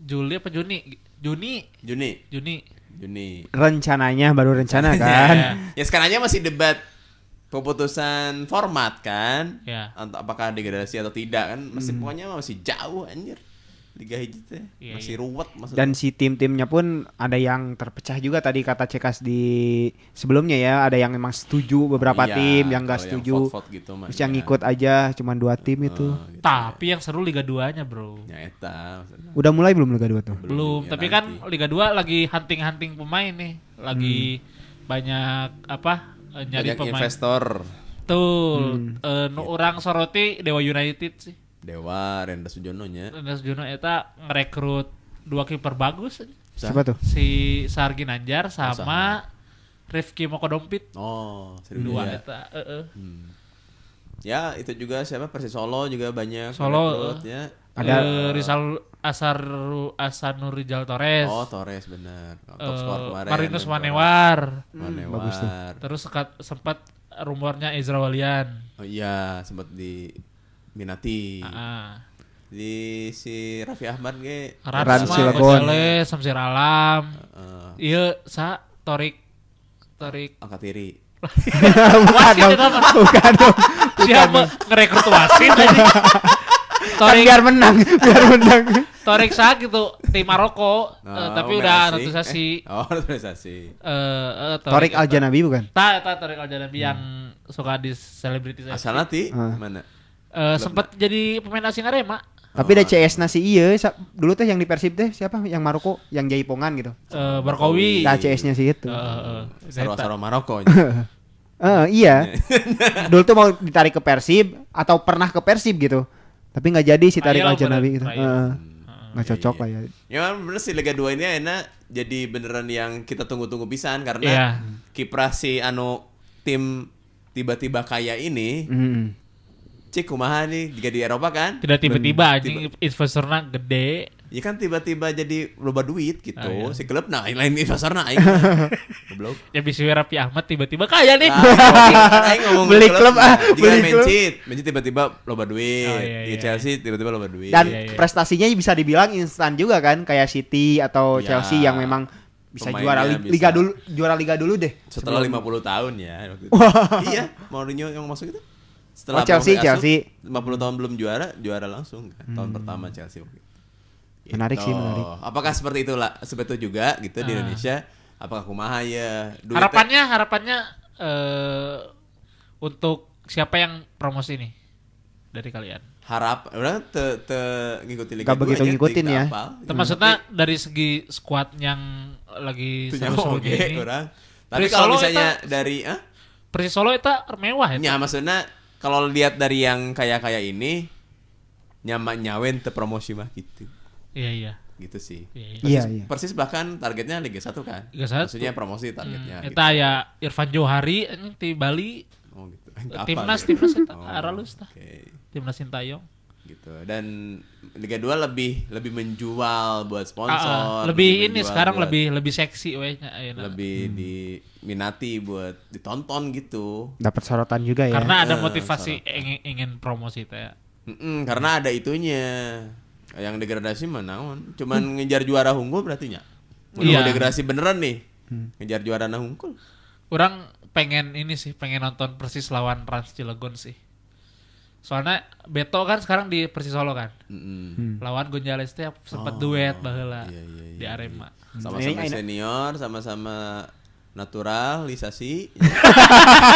B: Juli apa Juni? Juni,
A: Juni,
B: Juni.
A: Juni.
C: Rencananya baru rencana kan.
A: ya sekarang aja masih debat keputusan format kan
B: Ya. Hmm.
A: Ant- apakah degradasi atau tidak kan masih pokoknya masih jauh anjir liga hiji teh
B: Iya,
A: masih
B: iya.
A: ruwet maksudnya
C: Dan si tim-timnya pun ada yang terpecah juga tadi kata Cekas di sebelumnya ya, ada yang memang setuju beberapa
A: Iya,
C: tim, yang gak
A: kalau
C: setuju.
A: vote-vote gitu mah,
C: terus yang
A: iya.
C: ngikut aja cuman dua tim itu.
A: Heeh, gitu.
B: Tapi yang seru Liga 2-nya, Bro.
A: ya eta maksudnya.
C: Udah mulai belum Liga 2 tuh?
B: Belum,
A: ya
B: tapi
A: nanti. Hmm.
B: kan Liga 2 lagi hunting-hunting pemain nih. Lagi banyak apa? eh, Nyari
A: banyak
B: pemain.
A: investor Hmm.
B: Betul. Eh,
A: Iya.
B: nu orang soroti Dewa United sih.
A: Dewa Renda Sujono nya
B: Nes Juno eta ngerekrut dua kiper bagus
C: Siapa tuh?
B: si Sargi Nanjar sama Rifki Mokodompit
A: oh serius
B: dua
A: ya.
B: eta heeh.
A: ya itu juga siapa Persis Solo juga banyak
B: Solo,
A: rekrut, ya
C: Ada-
B: Eh, Rizal Asar Asanur Rizal Torres.
A: oh Torres bener top
B: Eh,
A: skor kemarin
B: Marinus
A: Torres.
B: Manewar.
A: Manewar
C: bagus tuh.
B: Terus sekat- sempat rumornya Ezra Walian.
A: oh iya sempat diminati
B: Ah.
A: di si Raffi Ahmad ge
C: Rans
B: Ransma,
C: Cilegon.
B: Gonzalez, Samsir Alam.
A: eh,
B: Iya, sa Torik Torik
A: angkat tiri
B: Eh,
C: bukan dong,
B: itu apa?
C: bukan dong.
B: Siapa ngerekrut wasit aja.
C: Kan
B: Torik
C: biar menang, biar menang.
B: Torik Sa gitu tim Maroko eh,
A: Nah, oh,
B: tapi
A: Merasi.
B: udah naturalisasi
A: Eh, oh naturalisasi
B: eh eh,
C: Torik Al Janabi bukan?
B: Ta, ta Torik Al Janabi yang suka di selebriti
A: Hmm. asal nanti
C: Ah.
A: mana
B: Eh, sempat jadi pemain asing Arema. eh,
C: Tapi ada CS nasi iya sa- dulu teh yang di Persib teh siapa yang Maroko yang Jaipongan gitu.
B: Eh, Barkowi.
C: Nah, CS-nya sih itu.
B: Eh, eh,
A: Sarwa
B: Zeta.
A: Sarwa Maroko.
C: Eh, iya. Dulu tuh mau ditarik ke Persib atau pernah ke Persib gitu. Tapi nggak jadi si tarik
B: Trial
C: aja
B: bener,
C: Nabi gitu.
B: trial.
C: Heeh. Nggak
A: Iya,
C: cocok
A: iya.
C: lah ya.
A: Ya memang bener sih Liga 2 ini enak jadi beneran yang kita tunggu-tunggu pisan karena
B: Iya.
A: kiprah si anu tim tiba-tiba kaya ini
C: Mm.
A: cik kumaha nih jika di Eropa kan
B: Tidak tiba-tiba anjing investornya gede.
A: ya kan tiba-tiba jadi loba duit gitu
B: Ah, iya.
A: si klub nah yang lain investor nah aing goblok
B: Ya Biswi Raffi Ahmad tiba-tiba kaya nih.
A: Nah. iya,
C: Beli klub, ah, beli
A: Jika
C: klub.
A: Mencit Mencit tiba-tiba loba duit
B: Oh, iya,
A: Jika
B: iya.
A: Chelsea tiba-tiba loba duit
C: Dan
B: Iya, iya.
C: prestasinya bisa dibilang instan juga kan kayak City atau
A: Iya.
C: Chelsea yang memang bisa
A: Pemainnya
C: juara li-
A: bisa.
C: liga dulu juara liga dulu deh.
A: setelah
C: Sebelum-
A: 50 tahun ya waktu itu. iya Mourinho yang masuk itu
C: Oh, Chelsea,
A: Mourinho masuk,
C: Chelsea. Hmm.
A: 50 tahun belum juara juara langsung kan tahun pertama Chelsea waktu itu. Gitu.
C: Menarik sih, menarik. Ah.
A: apakah seperti itu lah seperti itu juga gitu di Indonesia apakah kumaha ya Duitnya-
B: Harapannya harapannya eh untuk siapa yang promosi nih dari kalian?
A: harap orang te, te ngikuti liga
C: Nggak
A: dua
C: begitu
A: aja,
C: ngikutin
A: teu
C: ya.
A: apal.
B: Maksudnya dari segi squad yang lagi
A: Itu nyawa
B: seru-serunya
A: oge
B: ini.
A: orang tapi
B: Dari
A: kalau
B: Solo
A: misalnya
B: eta-
A: dari ah
B: Persis Solo itu mewah ya.
A: Ya maksudnya kalau lihat dari yang kaya-kaya ini nyama nyawen te promosi mah gitu.
B: Iya iya.
A: Gitu sih.
B: Iya, iya.
C: Iya,
A: Persis-
C: iya.
A: Persis bahkan targetnya Liga 1 kan.
B: Liga 1.
A: Maksudnya promosi targetnya. gitu.
B: Eta ya Irfan Johari anjing di Bali,
A: Oh gitu.
B: Timnas,
A: gitu?
B: timnas eta,
A: Oh,
B: aralus tah.
A: Oke.
B: timnas Sintayong.
A: Gitu. Dan Liga 2 lebih lebih menjual buat sponsor.
B: Ah, ah, lebih ini
A: menjual
B: sekarang
A: buat-
B: lebih lebih seksi weh ya, nya ayeuna.
A: lebih
C: Hmm.
A: diminati buat ditonton gitu.
C: Dapat sorotan juga ya.
B: Karena ada
A: Eh,
B: motivasi ingin, ingin promosi ya. teh.
A: Mm-mm, karena ada itunya. Yang degradasi mah naon? Cuman
C: Hmm.
A: ngejar juara unggul berarti nya. Mun
B: Iya.
A: mau degradasi beneran nih.
C: Hmm.
A: Ngejar juara na unggul.
B: Orang pengen ini sih, pengen nonton Persis lawan Trans Cilegon sih. Soalnya Beto kan sekarang di Persis Solo kan.
A: Mm-mm.
C: Hmm.
B: Lawan Gonzales teh sempat duet baheula
A: Hmm. Oh, iya, iya,
B: di Arema.
A: Sama-sama
C: Ini- ini-
A: senior, sama-sama naturalisasi.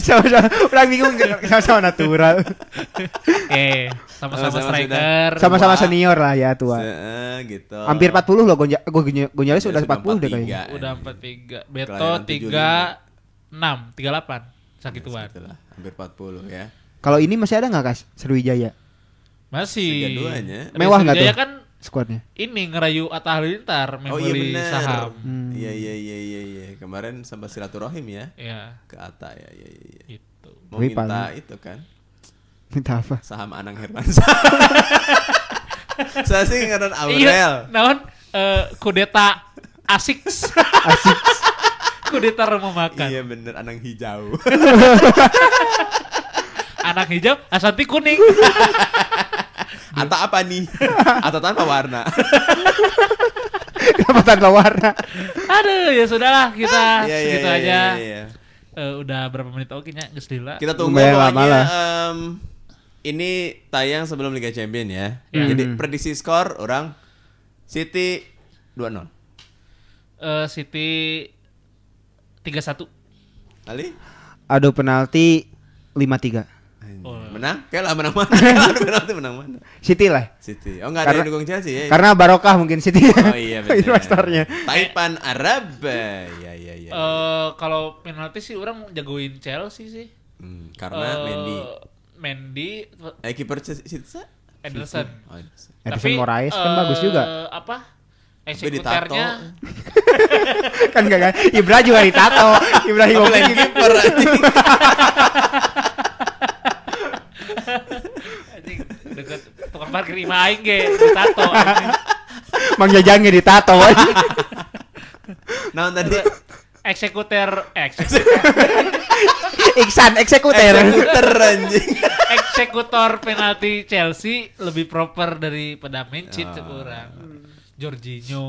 C: Sama-sama orang bingung sama-sama natural.
B: Oke, sama-sama
A: Sama-sama
B: striker.
A: sudah.
C: Sama-sama
A: Tua.
C: senior lah ya tua.
A: Heeh, gitu.
C: Hampir 40 loh Gonja- Gonja- Gonzales
A: Gonzales
C: sudah 40
A: 43.
C: deh kayaknya.
B: Udah 43, Beto
A: Kelahiran
B: 3 6, 38
A: Iya,
B: sakituan.
A: Gitulah, hampir 40 ya.
C: Kalau ini masih ada nggak Kas Sriwijaya
B: Masih.
A: Liga duanya.
C: Mewah nggak
B: Sriwijaya
C: tuh?
B: kan
C: skuadnya?
B: ini ngerayu Atta Halilintar
A: oh iya
B: membeli
A: benar.
B: saham.
C: Hmm.
A: Iya iya iya iya iya. Kemarin sampai silaturahim ya
B: Ya,
A: ke Ata ya iya iya. iya.
B: gitu.
A: Mau
C: Tapi
A: minta
C: paling-
A: itu kan.
C: Minta apa?
A: saham Anang Hermansyah. Saya sih ngaran Aurel.
B: Iya, naon eh, kudeta asik.
C: Asik.
B: kudeta rumah makan.
A: Iya bener Anang hijau.
B: Anak hijau, Asanti kuning.
A: Atau apa nih? Atau tanpa warna.
C: Kenapa tanpa warna?
B: Aduh, ya sudahlah kita
A: Iya, iya,
B: segitu
A: iya,
B: aja.
A: iya, iya.
B: Eh, udah berapa menit oke nya geus lila.
A: Kita tunggu
C: Lumayan lama
A: pokoknya.
C: lah.
A: em, ini tayang sebelum Liga Champion ya.
B: Iya.
A: Jadi prediksi skor orang City 2-0.
B: Eh, City 31.
A: Ali?
C: Aduh penalti 5-3.
B: Oh.
A: Menang? Kayak lah menang mana? Aduh, penalti menang mana?
C: City lah.
A: City. Oh enggak ada
C: Karena-
A: yang dukung Chelsea ya.
C: Karena barokah mungkin City.
A: Oh iya benar.
C: Investornya.
A: Taipan Arab. Ya ya ya.
B: Eh, kalau penalti sih orang jagoin Chelsea sih.
A: Hmm, karena
B: Eh,
A: Mendy.
B: Mendy
A: Eh kiper Sitsa?
B: Ederson.
A: Oh, Ederson.
C: Edison Moraes kan bagus juga.
B: eh, Apa?
A: Tapi ditato.
B: Eksekuternya
C: kan gak kan. Ibra juga ditato. Ibrahim
A: Tapi lain kiper anjing.
B: anjing deket tukang parkir ima aing ge ditato anjing.
C: Mang Jajangnya ditato.
A: Nah, tadi
B: eksekuter eh, eksekutor
C: Iksan eksekutor.
A: eksekutor anjing.
B: eksekutor penalti Chelsea lebih proper daripada Mencit
A: Ah. Hmm.
B: kurang Jorginho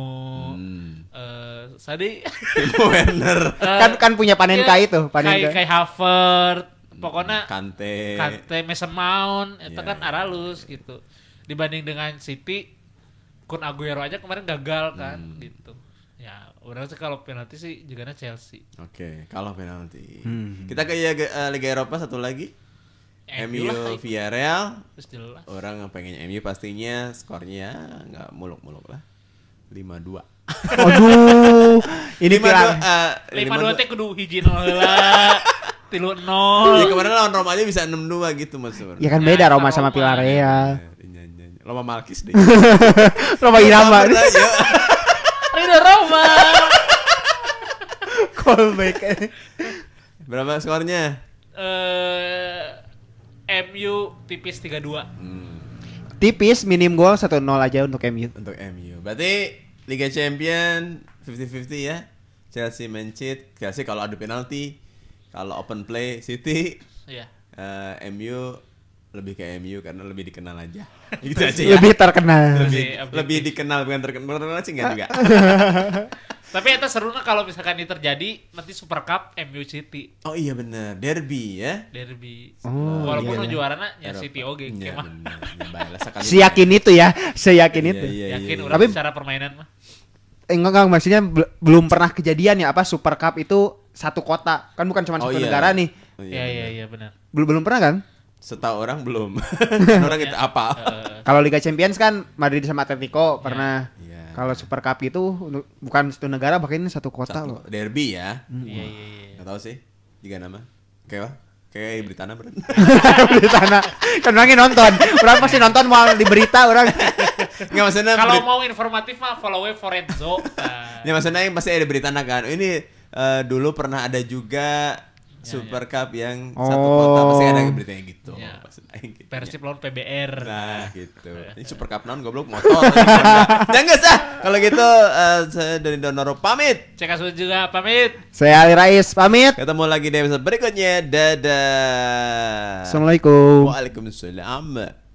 B: eh tadi
A: Timo Werner,
C: Kan kan punya
B: Iya.
C: Panenka itu,
B: Panenka
C: Panenka.
B: kayak Havertz pokoknya
A: Hmm, Kante.
B: Kante Mason Mount itu
A: Iya,
B: kan
A: iya,
B: aralus gitu dibanding dengan City Kun Aguero aja kemarin gagal kan
A: Hmm.
B: gitu ya orang sih kalau penalti sih juga Chelsea
A: iya, Oke, kalah penalti. Kita ke ya, ke, eh, Liga Eropa satu lagi. MU
B: lah.
A: Villarreal
B: Terus jelas.
A: orang yang pengennya MU pastinya skornya nggak muluk-muluk lah 5-2
C: Aduh, ini pilar.
A: 5-2
B: Lima
A: eh,
B: dua
A: 5-2.
B: teh kudu hiji nol lah. Tilu
A: Ya
B: nol.
A: kemarin lawan Roma aja bisa 6-2 gitu mas Eh, iya,
C: Ya kan beda
B: Ya,
C: Roma
B: Roma.
C: sama iya. Villarreal.
A: Lama Malkis deh
C: Roma Irama.
A: Sabar aja.
B: Ridho Roma.
C: Callback.
A: Berapa skornya?
B: Eh MU tipis 3-2.
C: Tipis minim gol 1-0 aja untuk MU.
A: Untuk MU Berarti Liga Champion 50-50 ya Chelsea main cheat Chelsea kalau adu penalti Kalau open play City
B: Iya.
A: eh, MU lebih ke MU karena lebih dikenal aja gitu aja ya
C: Lebih
A: lebih,
C: terkenal.
B: Masih objektif.
A: lebih dikenal bukan terkenal terkenal sih nggak juga
B: Tapi itu serunya kalau misalkan ini terjadi nanti Super Cup MU City
A: oh iya bener derby ya
B: derby.
C: Oh,
A: iya,
B: Walaupun nu
A: iya.
B: juaranya ya
A: Eropa.
B: City oge
A: Iya,
B: kemah.
A: bener. Ya, baiklah, sekali
C: Seyakin itu ya, seyakin
A: Iya,
C: itu.
A: iya, iya,
B: Yakin
A: iya.
B: orang
C: Tapi-
B: secara permainan mah.
C: Eh, enggak, enggak maksudnya bel- belum pernah kejadian ya apa Super Cup itu satu kota. Kan bukan cuma
A: Oh,
C: satu
A: iya.
C: negara nih.
A: Oh,
B: Iya iya
A: bener.
B: iya benar.
C: Belum belum pernah kan?
A: setahu orang belum Kan orang itu apa
B: Eh,
C: Kalau Liga Champions kan Madrid sama Atletico pernah.
A: Iya.
C: Kalau Super Cup itu untuk- bukan satu negara bahkan ini satu kota Mm-hmm.
A: Satu,
C: loh.
A: derby ya
B: Iya iya iya.
A: nggak tahu sih tiga nama kayak apa kayak Britana beren
C: di tanah. Kan orangnya nonton. Orang pasti nonton mau di berita orang.
A: nggak maksudnya
B: Kalau
A: Brit-
B: mau informatif mah follow Forenzo. Nah,
A: Ya maksudnya yang pasti ada Britana kan. Ini eh, dulu pernah ada juga Super Cup yang satu kota
C: Oh.
A: pasti ada beritanya gitu.
B: Ya.
A: Pasti ada yang gitu.
B: Persib lawan PBR.
A: Nah, gitu. Ini Super Cup non goblok motor. ya enggak sah. Kalau gitu eh, saya dari Donoro pamit.
B: Cek Asun juga pamit.
C: Saya Ali Rais pamit.
A: Ketemu lagi di episode berikutnya. Dadah.
C: Assalamualaikum.
A: Waalaikumsalam.